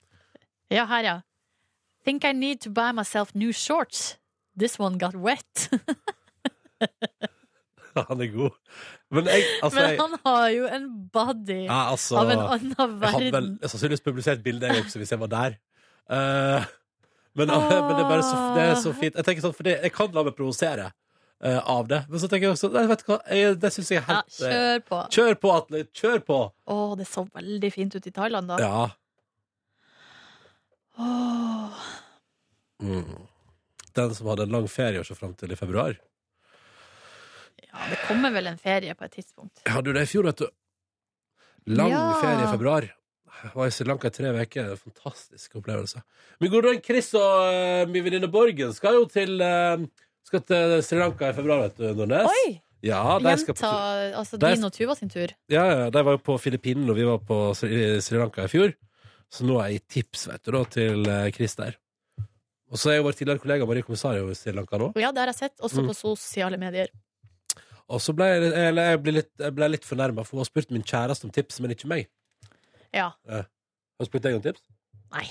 Ja, her, ja. Think I need to buy myself new shorts. This one got wet.
Han er god. Men jeg, altså,
Men
jeg
han har jo en body
ja, altså,
av en annen
Jeg hadde vel
verden.
jeg sannsynligvis publisert bildet jeg også, hvis jeg var der. Eh, men, eh, men det er bare så, det er så fint. Jeg tenker sånn, for det, jeg kan la meg provosere eh, av det. Men så tenker jeg også Nei, vet du hva, jeg, det syns jeg er
Ja,
helt eh,
kjør på.
Kjør på, Atle! Kjør på!
Å, det så veldig fint ut i Thailand, da.
Ja.
Åh.
Mm. Den som hadde en lang ferie å se fram til i februar.
Ja, det kommer vel en ferie på et tidspunkt.
Jeg hadde jo det i fjor, vet du. Lang
Ja.
ferie i februar. Jeg var i Sri Lanka i tre uker. Fantastisk opplevelse. Men god dag, Chris og eh, min venninne Borgen skal jo til, eh, skal til Sri Lanka i februar, vet du, Nordnes.
Oi!
Ja, de, skal
Gjenta
på,
altså
der-
din og Tuva sin tur.
ja, ja, de var jo på Filippinene, og vi var på Sri Sri Lanka i fjor. Så nå har jeg gitt tips, vet du, da, til eh, Chris der. Og så er jo vår tidligere kollega Marie Kommissario i Sri Lanka nå.
Og ja, det har jeg sett, også
Mm.
på sosiale medier.
Og så ble jeg, eller jeg ble litt, jeg ble litt fornærma, for hun har spurt min kjæreste om tips, men ikke meg.
Ja.
Har hun spurt deg om tips?
Nei.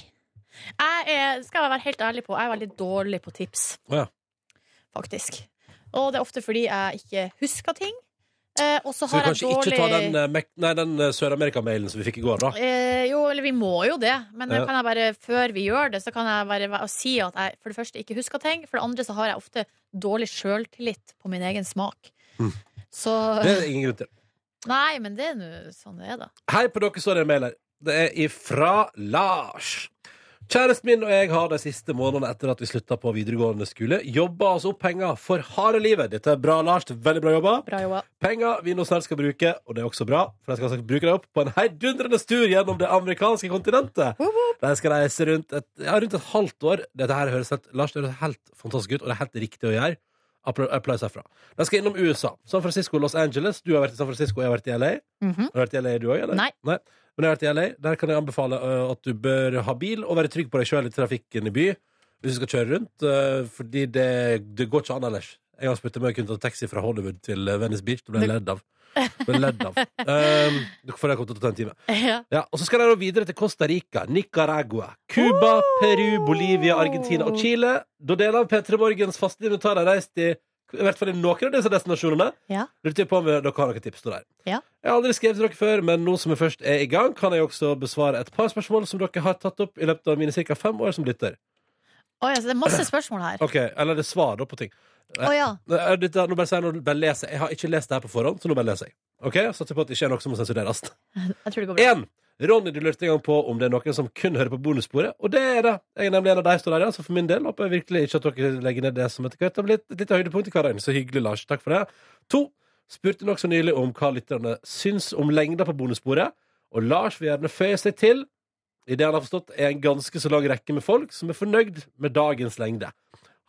Jeg er, skal jeg være helt ærlig på, jeg er veldig dårlig på tips.
Å ja.
Faktisk. Og det er ofte fordi jeg ikke husker ting. Eh, og så
Så vi
har jeg
kanskje
dårlig
ikke ta den, eh, Mek- nei, den eh, Sør-Amerika-mailen som vi fikk i går, da.
Eh, jo, eller vi må jo det, men
Ja.
kan jeg bare, før vi gjør det, så kan jeg bare væ- si at jeg for det første ikke husker ting, for det andre så har jeg ofte dårlig sjøltillit på min egen smak.
Mm.
Så
Det er det ingen grunn til.
Nei, men det er nå sånn det er, da.
Hei på dere, så er det en mail her. Det er ifra Lars. Kjæresten min og jeg har de siste månedene etter at vi slutta på videregående skole, jobba oss opp penger for harde livet. Dette er bra, Lars. Veldig bra jobba.
Bra jobba.
Penger vi nå snart skal bruke, og det er også bra, for de skal altså bruke dem opp på en heidundrende tur gjennom det amerikanske kontinentet. De skal reise rundt et, ja, rundt et halvt år. Dette her høres helt, Lars, det høres helt fantastisk ut, og det er helt riktig å gjøre. Appla- Applaus herfra. De skal innom USA. San Francisco og Los Angeles. Du har vært i San Francisco, jeg har vært i LA.
Mhm.
Har du vært i LA, du òg?
Nei.
Nei. Men jeg har vært i LA. Der kan jeg anbefale ø, at du bør ha bil og være trygg på deg sjøl i trafikken i by hvis du skal kjøre rundt, ø, fordi det, det går ikke an ellers. En gang spurte jeg om jeg kunne ta taxi fra Hollywood til ø, Venice Beach. Det ble jeg ledd av. Det Ble jeg ledd av. Um, for det kom til å ta en time.
Ja.
Ja, og Så skal de da videre til Costa Rica, Nicaragua, Cuba, Peru, Bolivia, Argentina og Chile. Da deler av P3 Morgens faste invitar har reist i i hvert fall i noen av disse destinasjonene.
Ja.
Lurer på om dere har noen tips til der.
Ja.
Jeg har aldri skrevet til dere før, men nå som jeg først er i gang, kan jeg også besvare et par spørsmål som dere har tatt opp i løpet av mine ca. fem år som lytter.
Oi, altså, det er masse spørsmål her.
Ok, Eller det er svar da på ting.
Å ja.
Nei, dette- Nå bare sier jeg, nå bare leser. jeg. jeg har ikke lest det her på forhånd, så nå bare leser jeg. Ok, Satser på at det ikke er noe som må sensureres.
Jeg tror det går bra.
En. Ronny, du lurte en gang på om det er noen som kun hører på bonussporet, og det er det. Jeg er nemlig en av de står der, ja, så for min del håper jeg virkelig ikke at dere legger ned det som etter hvert har blitt et lite høydepunkt i hverdagen. Så hyggelig, Lars. Takk for det. To. Spurte nokså nylig om hva lytterne syns om lengda på bonussporet, og Lars vil gjerne føye seg til i det han har forstått er en ganske så lang rekke med folk som er fornøyd med dagens lengde.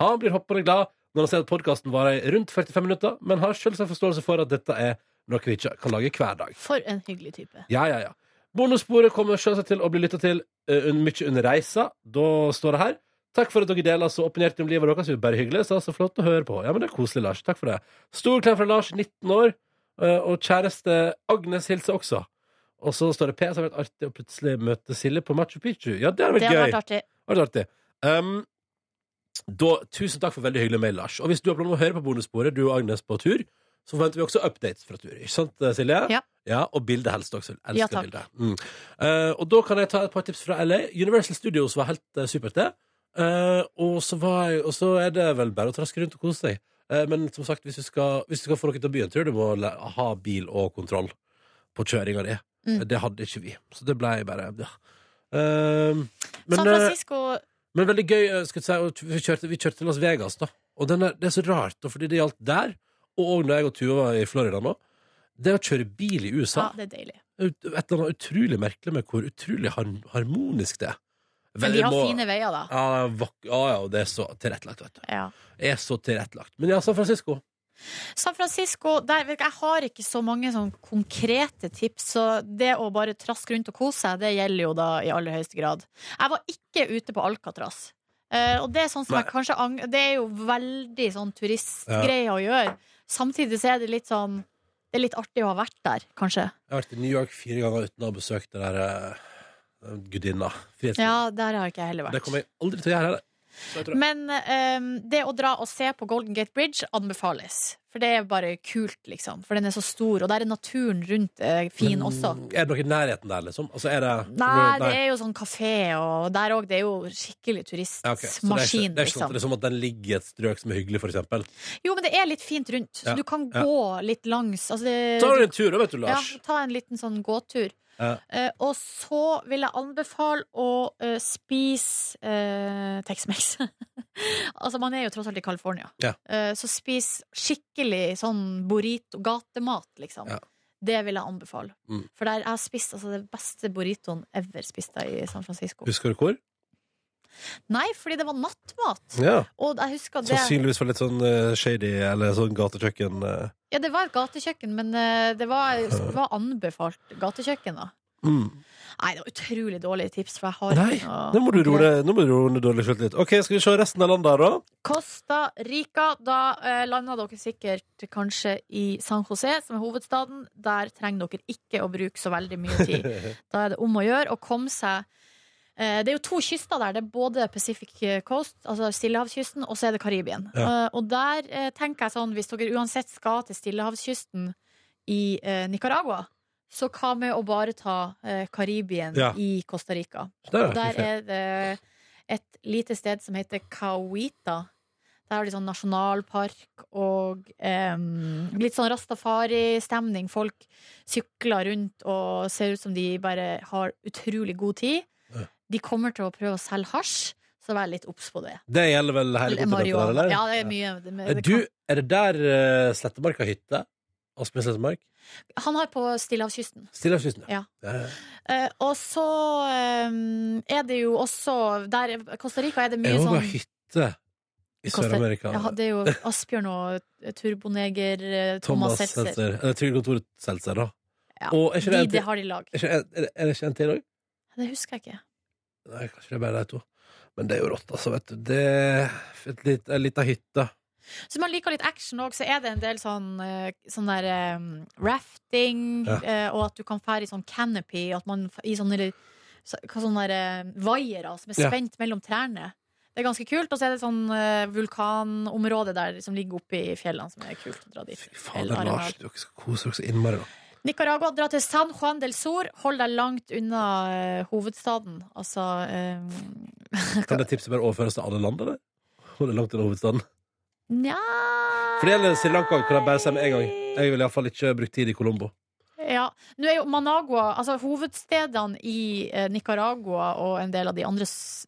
Han blir hoppende glad når han ser at podkasten varer i rundt 45 minutter, men har selvsagt forståelse for at dette er noe vi ikke kan lage hver dag.
For en hyggelig type.
Ja, ja, ja. Bonussporet kommer selvsagt til å bli lytta til eh, un- mye under reisa. Da står det her. Takk for at dere deler så åpenhjertig om livet deres. Det er Bare hyggelig. Så, så flott å høre på. Ja, men det er koselig, Lars. Takk for det. Stor klem fra Lars, 19 år, eh, og kjæreste Agnes hilser også. Og så står det P, så har det vært artig å plutselig møte Silje på Machu Picchu. Ja, det hadde vært
Det hadde
gøy.
vært artig.
Var det artig? Um, da, tusen takk for veldig hyggelig mail, Lars. Og hvis du har planer om å høre på bonussporet, du og Agnes på tur, så forventer vi også updates fra tur. Ikke sant, eh, Silje?
Ja.
og bildet helst også. Elsker
Ja, takk.
bildet. Mm. Eh, og da kan jeg ta et par tips fra LA. Universal Studios var helt eh, supert, det. Eh, og, så var jeg, og så er det vel bare å traske rundt og kose seg. Eh, men som sagt, hvis du skal, hvis du skal få noe til å by en tur, du må le- ha bil og kontroll på kjøringa di.
Mm.
Det hadde ikke vi. Så det blei bare ja. Eh, men,
San
eh,
Francisco
men veldig gøy, eh, skal jeg si, og vi kjørte, vi kjørte til Las Vegas da Og den er, det er så rart, da, fordi det gjaldt der Og også når jeg og Tua var i Florida nå Det å kjøre bil i USA
Ja, det er deilig.
ut- Et eller annet utrolig merkelig med hvor utrolig har, harmonisk det er
Men de
Veldig
har
må-
fine veier, da.
ja, det er vak- ja, ja, og det er så tilrettelagt, vet du
Ja.
Det er så tilrettelagt Men ja, San Francisco
San Francisco der, vet du, Jeg har ikke så mange sånn konkrete tips, så det å bare traske rundt og kose seg, det gjelder jo da i aller høyeste grad. Jeg var ikke ute på Alcatraz. Eh, og det er sånn som jeg
Nei.
kanskje ang Det er jo veldig sånn turistgreie å gjøre. Samtidig så er det litt sånn Det er litt artig å ha vært der, kanskje.
Jeg har vært i New York fire ganger uten å ha besøkt det der eh, Gudinna Frihetsgudinna.
Ja, der har ikke jeg heller vært.
Det kommer jeg aldri til å gjøre heller Så jeg tror-
Men ehm, det å dra og se på Golden Gate Bridge anbefales. For det er bare kult, liksom. For den er så stor, og der er naturen rundt eh, fin
Men
også.
Er det noe i nærheten der, liksom? Altså, er det,
Nei, det er jo sånn kafé, og der òg. Det er jo skikkelig
Ja, ok. Så det er ikke,
turistmaskin,
det er ikke sånn at, det
liksom.
er som at den ligger i et strøk som er hyggelig, for eksempel.
Jo, men det er litt fint rundt, så
Ja,
du kan
ja.
gå litt langs. Altså, det-
Ta deg en tur, da, vet du,
ja,
Lars.
ta en liten sånn gåtur.
Ja.
Eh, og så vil jeg anbefale å eh, spise eh, Tex-Mex. altså, man er jo tross alt i California.
Ja.
Eh, så spis skikkelig sånn burrito, gatemat, liksom.
Ja.
Det vil jeg anbefale.
Mm.
For der jeg har spist altså, den beste burritoen ever spist jeg i San Francisco.
Husker du hvor?
Nei, fordi det var nattmat.
Ja.
Og jeg husker det
Sannsynligvis for litt sånn eh, shady, eller sånn gatekjøkken. eh.
Ja, det var et gatekjøkken, men eh, det var, det var anbefalt gatekjøkken, da.
Mm.
Nei, det var utrolig dårlige tips, for jeg har
Nei,
ikke noe
nå må du roe
konkret.
ned- nå må du roe ned dårlig selvtillit. OK, skal vi se resten av landet her, da?
Costa Rica. Da eh, landa dere sikkert kanskje i San José, som er hovedstaden. Der trenger dere ikke å bruke så veldig mye tid. Da er det om å gjøre å komme seg eh, Det er jo to kyster der. Det er både Pacific Coast, altså Stillehavskysten, og så er det Karibien. Eh, Og der eh, tenker jeg sånn, hvis dere uansett skal til Stillehavskysten i eh, Nicaragua, så hva med å bare ta eh, Karibien
Ja.
i Costa Rica?
Der,
Og der er det et lite sted som heter Kauita. Der har de sånn nasjonalpark og em, litt sånn rastafari-stemning. Folk sykler rundt og ser ut som de bare har utrolig god tid.
Ja.
De kommer til å prøve å selge hasj, så vær litt obs på det.
det gjelder vel hele kontinentet der,
Marihuana.
eller?
Ja, det er mye. Det,
Er
det
Du,
kan.
er det der eh, Slettemark har hytte? Asbjørn Slettemark?
Han har på Stillehavskysten.
Stillehavskysten,
Ja.
ja.
Eh, og så em, er det jo også der Costa Rica er det mye
Jeg òg
sånn
har hytte i
Costa-
Sør-Amerika.
Ja, det er jo Asbjørn og Turboneger eh, Thomas Seltzer.
Eller Trygdekontoret Eh, Seltzer, da.
Ja,
Og er ikke det
De,
en
det
til-
har de i lag.
er ikke- er det- er det ikke en til òg?
Det husker jeg ikke.
Nei, kanskje det er bare de to. Men det er jo rått, altså, vet du. Det er et lit- en lita hytte.
Så hvis man liker litt action òg, så er det en del sånn, eh, sånn der em, rafting,
Ja.
eh, og at du kan fære i sånn canopy, at man f- i sånne li- så- hva sånne der, eh, vaiere som er
Ja.
spent mellom trærne. Det er ganske kult. Og så er det et sånn eh, vulkanområde der som ligger oppe i fjellene, som er kult å dra dit.
Fy
Eller
fader,
Arenal.
Lars, dere skal kose dere så innmari, da.
Nicaragua, dra til San Juan del Sur. Hold deg langt unna eh, hovedstaden. Altså eh,
Kan det tipset bare overføres til alle land, eller? Hold det langt unna hovedstaden.
Nja
For det gjelder Sri Lanka, kan jeg bare si med en gang. Jeg vil iallfall ikke bruke tid i Colombo.
Ja. Nå er jo Managua, altså hovedstedene i eh, Nicaragua og en del av de andre s-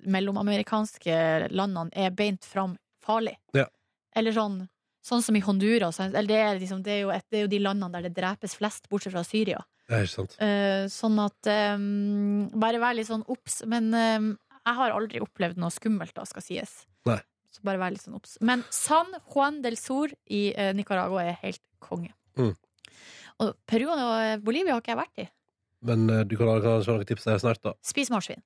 mellomamerikanske landene, er beint fram farlig.
Ja.
Eller sånn Sånn som i Honduras. Eller det, er liksom, det, er jo et, det er jo de landene der det drepes flest, bortsett fra Syria.
Det er ikke sant.
Eh, sånn at eh, Bare vær litt sånn obs. Men eh, jeg har aldri opplevd noe skummelt, da, skal sies.
Nei.
Så bare vær litt sånn obs. Men San Juan del Sur i eh, Nicaragua er helt konge.
Mm.
Og Peru og Bolivia eh, har ikke jeg vært i.
Men eh, du kan ha- kanskje ha noen tips der snart, da.
Spis marsvin.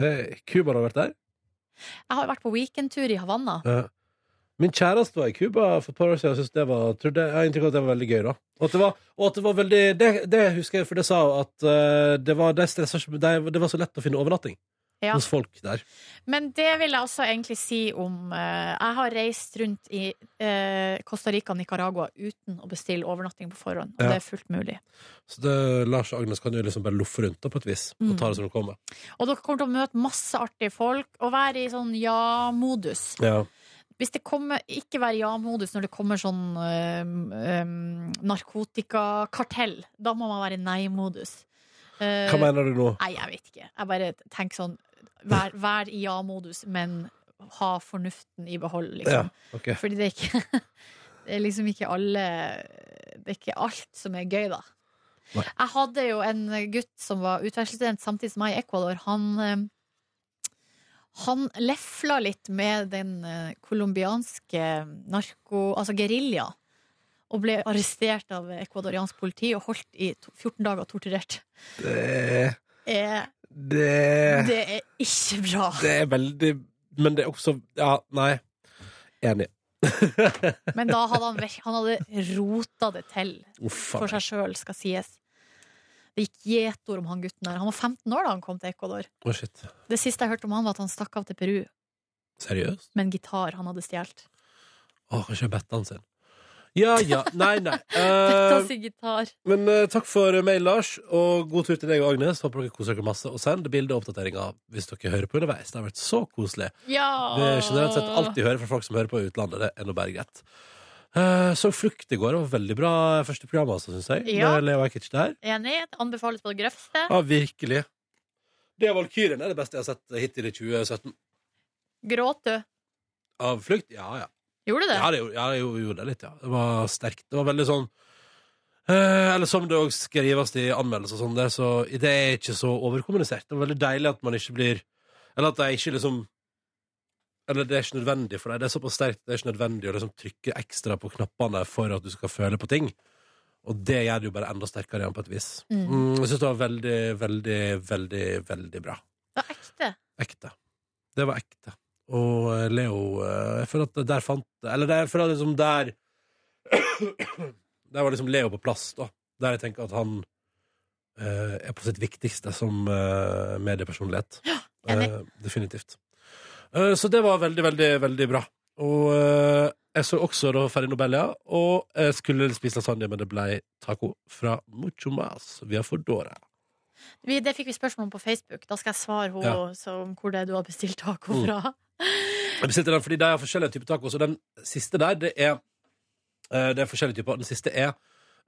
Hey, Cuba har vært der.
Jeg har vært på weekendtur i Havanna.
Ja. Min kjæreste var i Cuba for et par år siden. Jeg, synes det var, trodde, jeg har inntrykk av at det var veldig gøy, da. Og at det var, og at det, var veldig, det, det husker jeg, for det sa hun at eh, det, var, de stresset ikke- de, det var så lett å finne overnatting
Ja.
hos folk der.
Men det vil jeg også egentlig si om eh, Jeg har reist rundt i eh, Costa Rica og Nicaragua uten å bestille overnatting på forhånd, og
Ja.
det er fullt mulig.
Så det, Lars og Agnes kan jo liksom bare loffe rundt da, på et vis
Mm.
og ta det som det kommer.
Og dere kommer til å møte masse artige folk og være i sånn ja-modus.
Ja.
Hvis det kommer, ikke være ja-modus når det kommer sånn øhm, øhm, narkotikakartell, da må man være i nei-modus. Eh,
Hva mener du nå?
Nei, jeg vet ikke. Jeg bare tenker sånn Vær, vær i ja-modus, men ha fornuften i behold,
Ja,
liksom.
ok.
Fordi det er ikke Det er liksom ikke alle Det er ikke alt som er gøy, da.
Nei.
Jeg hadde jo en gutt som var utvekslingsstudent samtidig som meg i Ecuador. Han eh, han lefla litt med den eh, colombianske eh, narko... Altså gerilja. Og ble arrestert av ecuadoriansk politi og holdt i to- 14 dager og torturert.
Det,
Eh,
det,
det er ikke bra.
det er veldig Men det er også Ja, nei. Enig.
Men da hadde han, virk- han hadde rota det til
Uff a
for
meg.
seg sjøl, skal sies. Det gikk gjetord om han gutten der. Han var 15 år da han kom til Ecuador.
Å, shit.
Det siste jeg hørte om han, var at han stakk av til Peru
Seriøst?
med en gitar han hadde stjålet.
Å, kanskje jeg bette han sin. Ja ja. Nei, nei.
Bytta
Eh,
sin gitar.
Men eh, takk for mail, Lars, og god tur til deg og Agnes. Håper dere koser dere masse. Og send bilde og oppdateringer hvis dere hører på underveis. Det har vært så koselig.
Ja!
Det er generelt sett
Ah.
alltid hører fra folk som hører på i utlandet. Det er nå bare greit. Eh, så Flukt i går det var veldig bra første program, altså, syns jeg.
Ja.
Med Leo Ajkic der.
Enig. Anbefales på det grøvste.
Ja, virkelig. Det Valkyrien er det beste jeg har sett hittil i 2017.
Gråt du?
Av Flukt? Ja, ja.
Gjorde du det?
Ja, det gjorde, ja, det gjorde gjorde det litt, ja. Det var sterkt. Det var veldig sånn eh, Eller som det òg skrives i anmeldelser og sånn der, så det er ikke så overkommunisert. Det var veldig deilig at man ikke blir Eller at de ikke liksom Eller det er ikke nødvendig for deg. Det er såpass sterkt. Det er ikke nødvendig å liksom trykke ekstra på knappene for at du skal føle på ting. Og det gjør det jo bare enda sterkere igjen, på et vis.
Mm.
Mm, jeg syns det var veldig, veldig, veldig, veldig bra
Det var ekte.
ekte. Det var ekte. Og eh, Leo eh, Jeg føler at der fant Eller der, jeg føler at liksom der Der var liksom Leo på plass, da. Der jeg tenker at han eh, er på sitt viktigste som eh, mediepersonlighet.
enig.
Eh, definitivt. Eh, så det var veldig, veldig, veldig bra. Og eh, jeg så også da Ferry Nobelia, og jeg skulle spise lasagne, men det ble taco fra Mucho Mas via Fordora.
Vi, det fikk vi spørsmål om på Facebook. Da skal jeg svare henne
Ja.
så- om hvor det er du har bestilt taco
Mm.
fra.
Jeg bestilte den fordi de har forskjellige typer tacos, og den siste der, det er eh, Det er forskjellige typer. Den siste er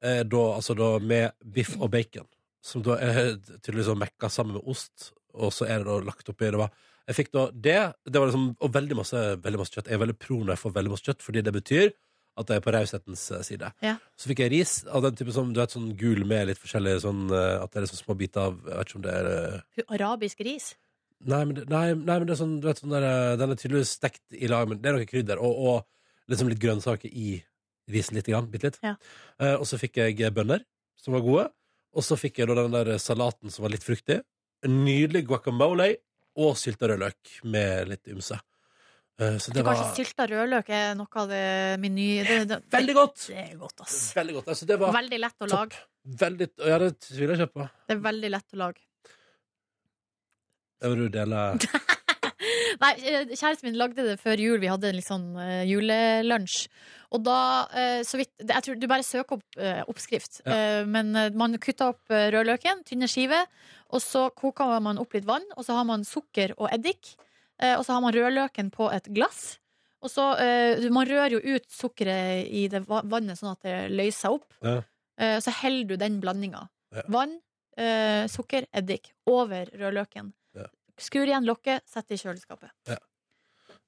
eh, da, altså da med biff og bacon, som da er tydeligvis sånn mekka sammen med ost, og så er det da lagt oppi det var, Jeg fikk da det, det var liksom, og veldig masse, veldig masse kjøtt. Jeg er veldig pro når jeg får veldig masse kjøtt, fordi det betyr at jeg er på raushetens eh, side.
Ja.
Så fikk jeg ris av den type som du vet, sånn gul med litt forskjellig sånn eh, At det er liksom små biter av Jeg vet ikke om det er eh,
Arabisk ris.
Nei, men det, nei, nei, men det er sånn, du vet, sånn der, eh, den er tydeligvis stekt i lag, men det er noe krydder, og, og liksom litt grønnsaker i risen litt, grann, bitte litt.
Ja.
Eh, og så fikk jeg eh, bønner, som var gode, og så fikk jeg da den der eh, salaten som var litt fruktig, en nydelig guacamole, og sylta rødløk med litt ymse. Eh, så det
Det
var
Kanskje sylta rødløk er noe av det meny... Det, det,
veldig godt!
Det er godt, ass.
Veldig godt, altså det var
Veldig lett å
Topp.
lage.
veldig, ja, det tviler jeg ikke på.
Det er veldig lett å lage.
Jeg vil jo dele...
Nei, eh, kjæresten min lagde det før jul. Vi hadde en litt sånn eh, julelunsj. Og da, eh, så vidt det- Jeg tror du bare søker opp eh, oppskrift.
Ja.
Eh, Men eh, man kutta opp eh, rødløken, tynne skiver, og så koker man opp litt vann, og så har man sukker og eddik, eh, og så har man rødløken på et glass. Og så, eh, Man rører jo ut sukkeret i det va- vannet sånn at det løser seg opp.
Ja.
Eh, Så heller du den blandinga.
Ja.
Vann, eh, sukker, eddik over rødløken.
Ja.
Skur igjen lokket, sett det i kjøleskapet.
Det er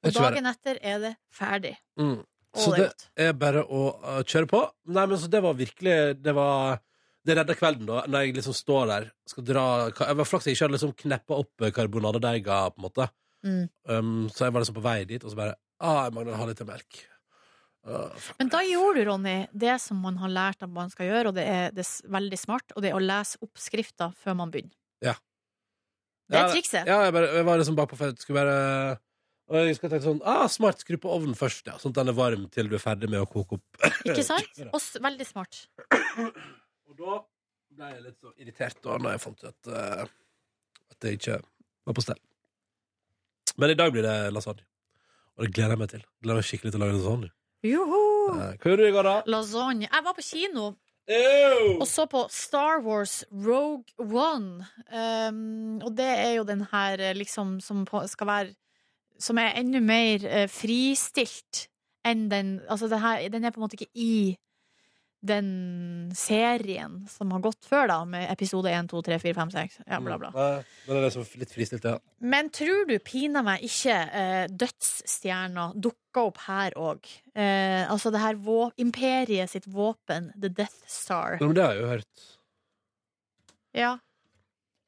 Og
ikke verre.
dagen etter er det ferdig.
Mm.
Å,
Så
det er godt.
er bare å uh, kjøre på. Nei, men så det var virkelig Det var Det redda kvelden, da, når jeg liksom står der skal dra ka- Jeg var flaks jeg ikke hadde liksom kneppa opp eh, karbonadedeiga, på en måte.
Mm.
Um, så jeg var liksom på vei dit, og så bare ah, Jeg mangler å ha litt melk.
Men da gjorde du, Ronny, det som man har lært at man skal gjøre, og det er, det er veldig smart, og det er å lese oppskrifta før man begynner.
Ja.
Det
Ja,
er trikset.
Ja, jeg, bare, jeg var liksom bakpå for jeg skulle bare Og jeg husker jeg tenkte sånn ah, Smart, skru på ovnen først, ja. Sånn at den er varm til du er ferdig med å koke opp.
Ikke sant? Og s- veldig smart.
Og da ble jeg litt så irritert da når jeg fant ut at, eh, at det ikke var på stell. Men i dag blir det lasagne. Og det gleder jeg meg til. Gleder meg skikkelig til å lage lasagne.
Joho!
Eh, Hva gjorde du i går, da?
Lasagne. Jeg var på kino
Ew!
og så på Star Wars Rogue One. Um, og det er jo den her eh, liksom som på, skal være Som er enda mer eh, fristilt enn den Altså det her, den er på en måte ikke i den serien som har gått før, da, med episode 1, 2, 3, 4, 5, 6. Ja, bla, bla.
Nei, men det er liksom litt fristilt, ja.
Men tror du pina meg ikke eh, dødsstjerna dukka opp her òg? Eh, altså det her vå imperiet sitt våpen, The Death Star.
Nei, men det har jeg jo hørt.
Ja.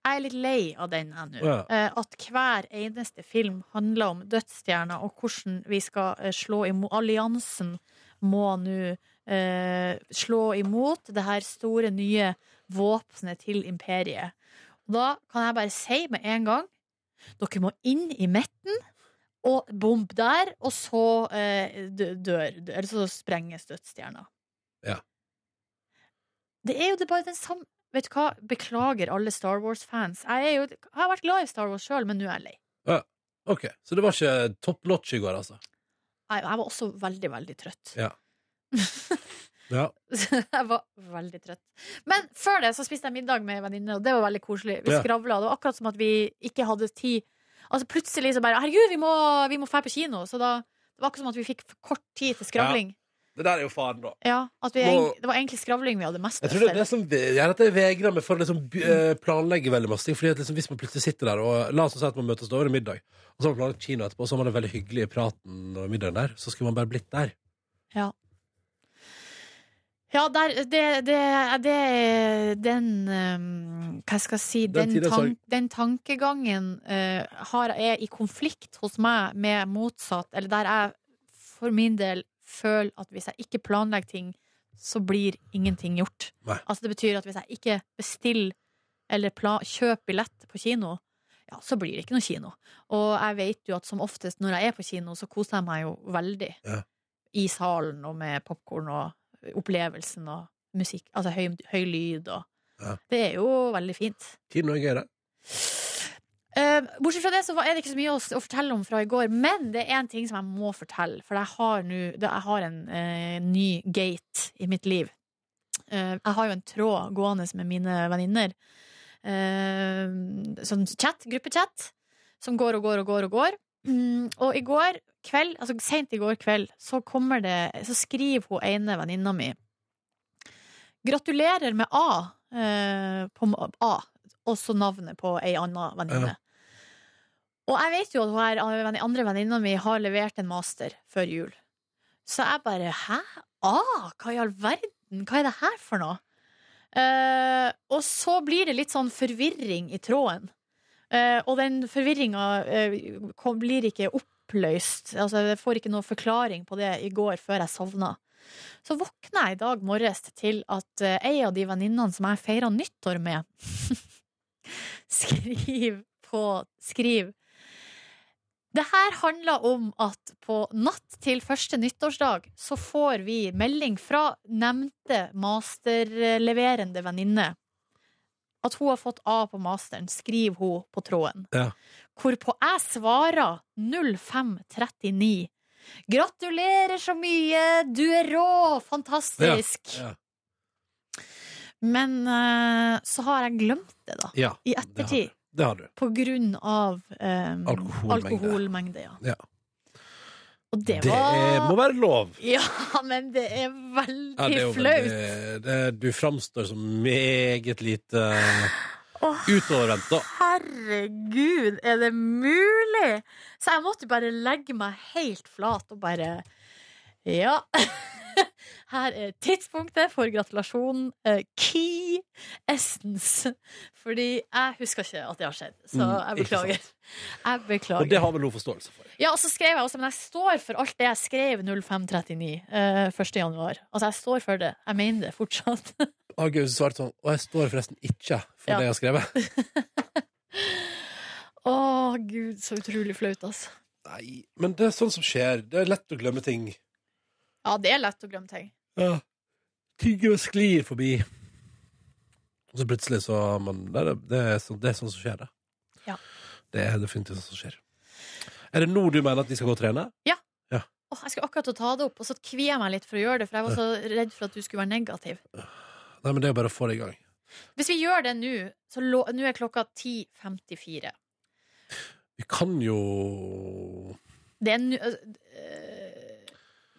Jeg er litt lei av den jeg nå.
Ja.
Eh, at hver eneste film handler om dødsstjerna og hvordan vi skal eh, slå imot Alliansen må nå eh, slå imot det her store, nye våpenet til imperiet. Og da kan jeg bare si med en gang dere må inn i midten. Og bomb der, og så eh, dø- dør Eller så sprenges dødsstjerna.
Ja.
Det er jo det bare den samme Vet du hva? Beklager alle Star Wars-fans. Jeg, er jo, jeg har vært glad i Star Wars sjøl, men nå er jeg lei.
Ok, Så det var ikke top notch i går, altså?
Jeg, jeg var også veldig, veldig trøtt.
Ja. Ja.
jeg var veldig trøtt. Men før det så spiste jeg middag med en venninne, og det var veldig koselig. Vi
Ja.
skravla. Det var akkurat som at vi ikke hadde tid. Altså Plutselig så bare 'herregud, vi må, vi må dra på kino'. Så da det var akkurat som at vi fikk for kort tid til skravling.
Det der er jo faren, da.
Ja, at vi,
Må-
egent- Det var egentlig skravling vi hadde mest
Jeg tror det er
etter.
det som gjør at jeg vegrer meg for å liksom, by- eh, planlegge veldig masse ting. Fordi at liksom, Hvis man plutselig sitter der og La oss si at man møtes over i middag, og så har man planlagt kino etterpå, og så har man det veldig hyggelig i praten og middagen der, så skulle man bare blitt der.
Ja, der, det, det, det er den um, Hva skal jeg si
Den
Den,
tida
tan
sorg.
den tankegangen eh, har, er i konflikt hos meg med motsatt Eller der jeg for min del føler at hvis jeg ikke planlegger ting, så blir ingenting gjort.
Nei.
Altså Det betyr at hvis jeg ikke bestiller eller pla kjøper billett på kino, ja, så blir det ikke noe kino. Og jeg vet jo at som oftest når jeg er på kino, så koser jeg meg jo veldig.
Ja.
I salen og med popkorn og opplevelsen og musikk. Altså høy, høy lyd og
Ja.
Det er jo veldig fint.
Kino er gøy, det.
Eh, bortsett fra det så var- er det ikke så mye å, s- å fortelle om fra i går, men det er én ting som jeg må fortelle. For jeg har, nå- det- jeg har en eh, ny gate i mitt liv. Eh, jeg har jo en tråd gående med mine venninner. Eh, sånn chat, gruppechat, som går og går og går og går. Mm, og i går kveld, altså seint i går kveld, så kommer det Så skriver hun ene venninna mi Gratulerer med A. eh, på m- A også navnet på ei anna venninne. Og jeg vet jo at hun her, den andre venninna mi har levert en master før jul. Så jeg bare Hæ? Ah, hva i all verden? Hva er det her for noe? Eh, og så blir det litt sånn forvirring i tråden. Eh, og den forvirringa eh, kom- blir ikke oppløst. Altså, jeg får ikke noe forklaring på det i går før jeg sovna. Så våkna jeg i dag morges til at eh, ei av de venninnene som jeg feira nyttår med, skriv på Skriv. Det her handler om at på natt til første nyttårsdag så får vi melding fra nevnte masterleverende venninne. At hun har fått A på masteren, skriver hun på tråden.
Ja.
Hvorpå jeg svarer 0539. Gratulerer så mye! Du er rå! Fantastisk!
Ja.
Men eh, så har jeg glemt det, da.
ja.
I ettertid.
Det har du.
På grunn av em,
Alkoholmengde.
alkoholmengde, ja.
Ja.
Og
Det,
det, var
er, må være lov.
Ja, men det er veldig
Ja, det er jo
flaut.
veldig- det- Du framstår som meget lite
Å,
utovervendt, da.
herregud, er det mulig? Så jeg måtte bare legge meg helt flat og bare Ja. Her er tidspunktet for gratulasjonen. eh, key essence. Fordi jeg husker ikke at det har skjedd, så
Mm,
jeg
ikke
beklager. Jeg
Og det
beklager.
har vel hun forståelse for.
Ja, og så skrev jeg også, men jeg står for alt det jeg skrev 0539 eh, 1. januar. Altså, jeg står for det. Jeg mener det fortsatt.
August svarte sånn, og jeg står forresten ikke for
Ja.
det jeg har skrevet.
Å, gud, så utrolig flaut, altså.
Nei, men det er sånn som skjer. Det er lett å glemme ting.
Ja, det er lett å glemme ting.
Ja. Ting jo sklir forbi. Og så plutselig så man, det, er, det, er sånn, det er sånn som skjer, det.
Ja.
Det er definitivt sånn som skjer. Er det nå du mener at vi skal gå og trene?
Åh, jeg skulle akkurat å ta det opp, og så kvier jeg meg litt for å gjøre det, for jeg var så redd for at du skulle være negativ.
Nei, men det er bare å få det i gang.
Hvis vi gjør det nå, så lå- nå er klokka 10.54.
Vi kan jo
Det er nu, øh,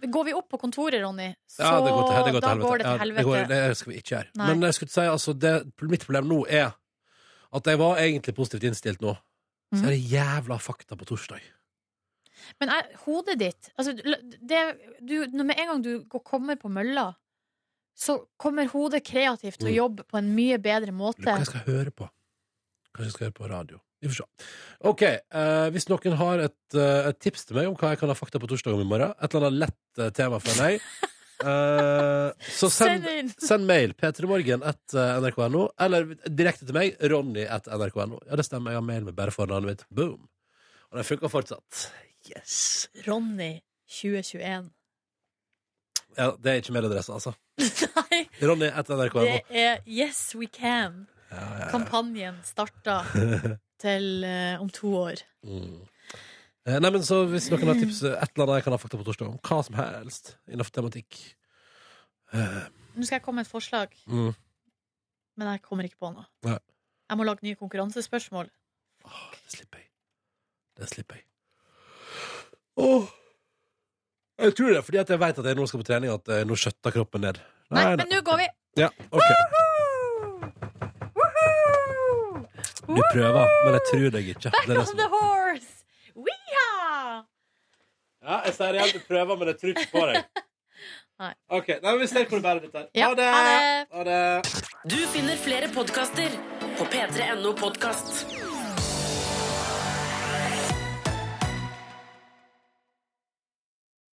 går vi opp på kontoret, Ronny, så
Ja, det går til, det går
da
til helvete.
går det til
Ja,
helvete.
det, går, det skal vi ikke gjøre.
Nei.
Men jeg skulle si, altså, det, mitt problem nå er at jeg var egentlig positivt innstilt nå. Så
Mhm.
er det jævla fakta på torsdag.
Men er, hodet ditt altså, l- det, du, når- Med en gang du går, kommer på mølla, så kommer hodet kreativt til å jobbe på en mye bedre
Lurer på
måte.
hva jeg skal høre på. Kanskje jeg skal høre på radio. Vi får se. OK, eh, hvis noen har et, eh, et tips til meg om hva jeg kan ha fakta på torsdag om i morgen, et eller annet lett eh, tema for meg, eh, så
Send
send,
inn!
send mail p3morgen at eh, nrk.no, eller direkte til meg, ronny at nrk.no. Ja, det stemmer, jeg har mail med bare fornavnet mitt. Boom. Og den funker fortsatt. Yes.
Ronny 2021.
Ja, det er ikke mailadresse, altså.
Nei,
Ronny at nrk.no.
det er Yes We Can.
Ja, ja, ja.
Kampanjen starta til eh, om to år.
Mm. Eh, Nei, men så Hvis noen har tips, eh, et eller annet jeg kan ha fakta på torsdag om hva som helst innenfor tematikk Eh,
Nå skal jeg komme med et forslag,
mm.
men jeg kommer ikke på noe.
Nei.
Jeg må lage nye konkurransespørsmål.
Åh, Det slipper jeg. Det slipper jeg. Åh. Jeg tror det er fordi at jeg vet at jeg nå skal på trening, at eh, nå skjøtter kroppen ned.
Nei, men nå går vi!
Ja, ok Du prøver, men jeg tror deg ikke.
Back
Det er det
on
som-
the horse! Weeha!
Ja, jeg sier igjen, du prøver, men jeg tror ikke på deg.
Nei.
Ok, nei, men Vi ser hvor det bærer dette. her.
Ja, ha det.
Ha det.
Du finner flere podkaster på p3.no podkast.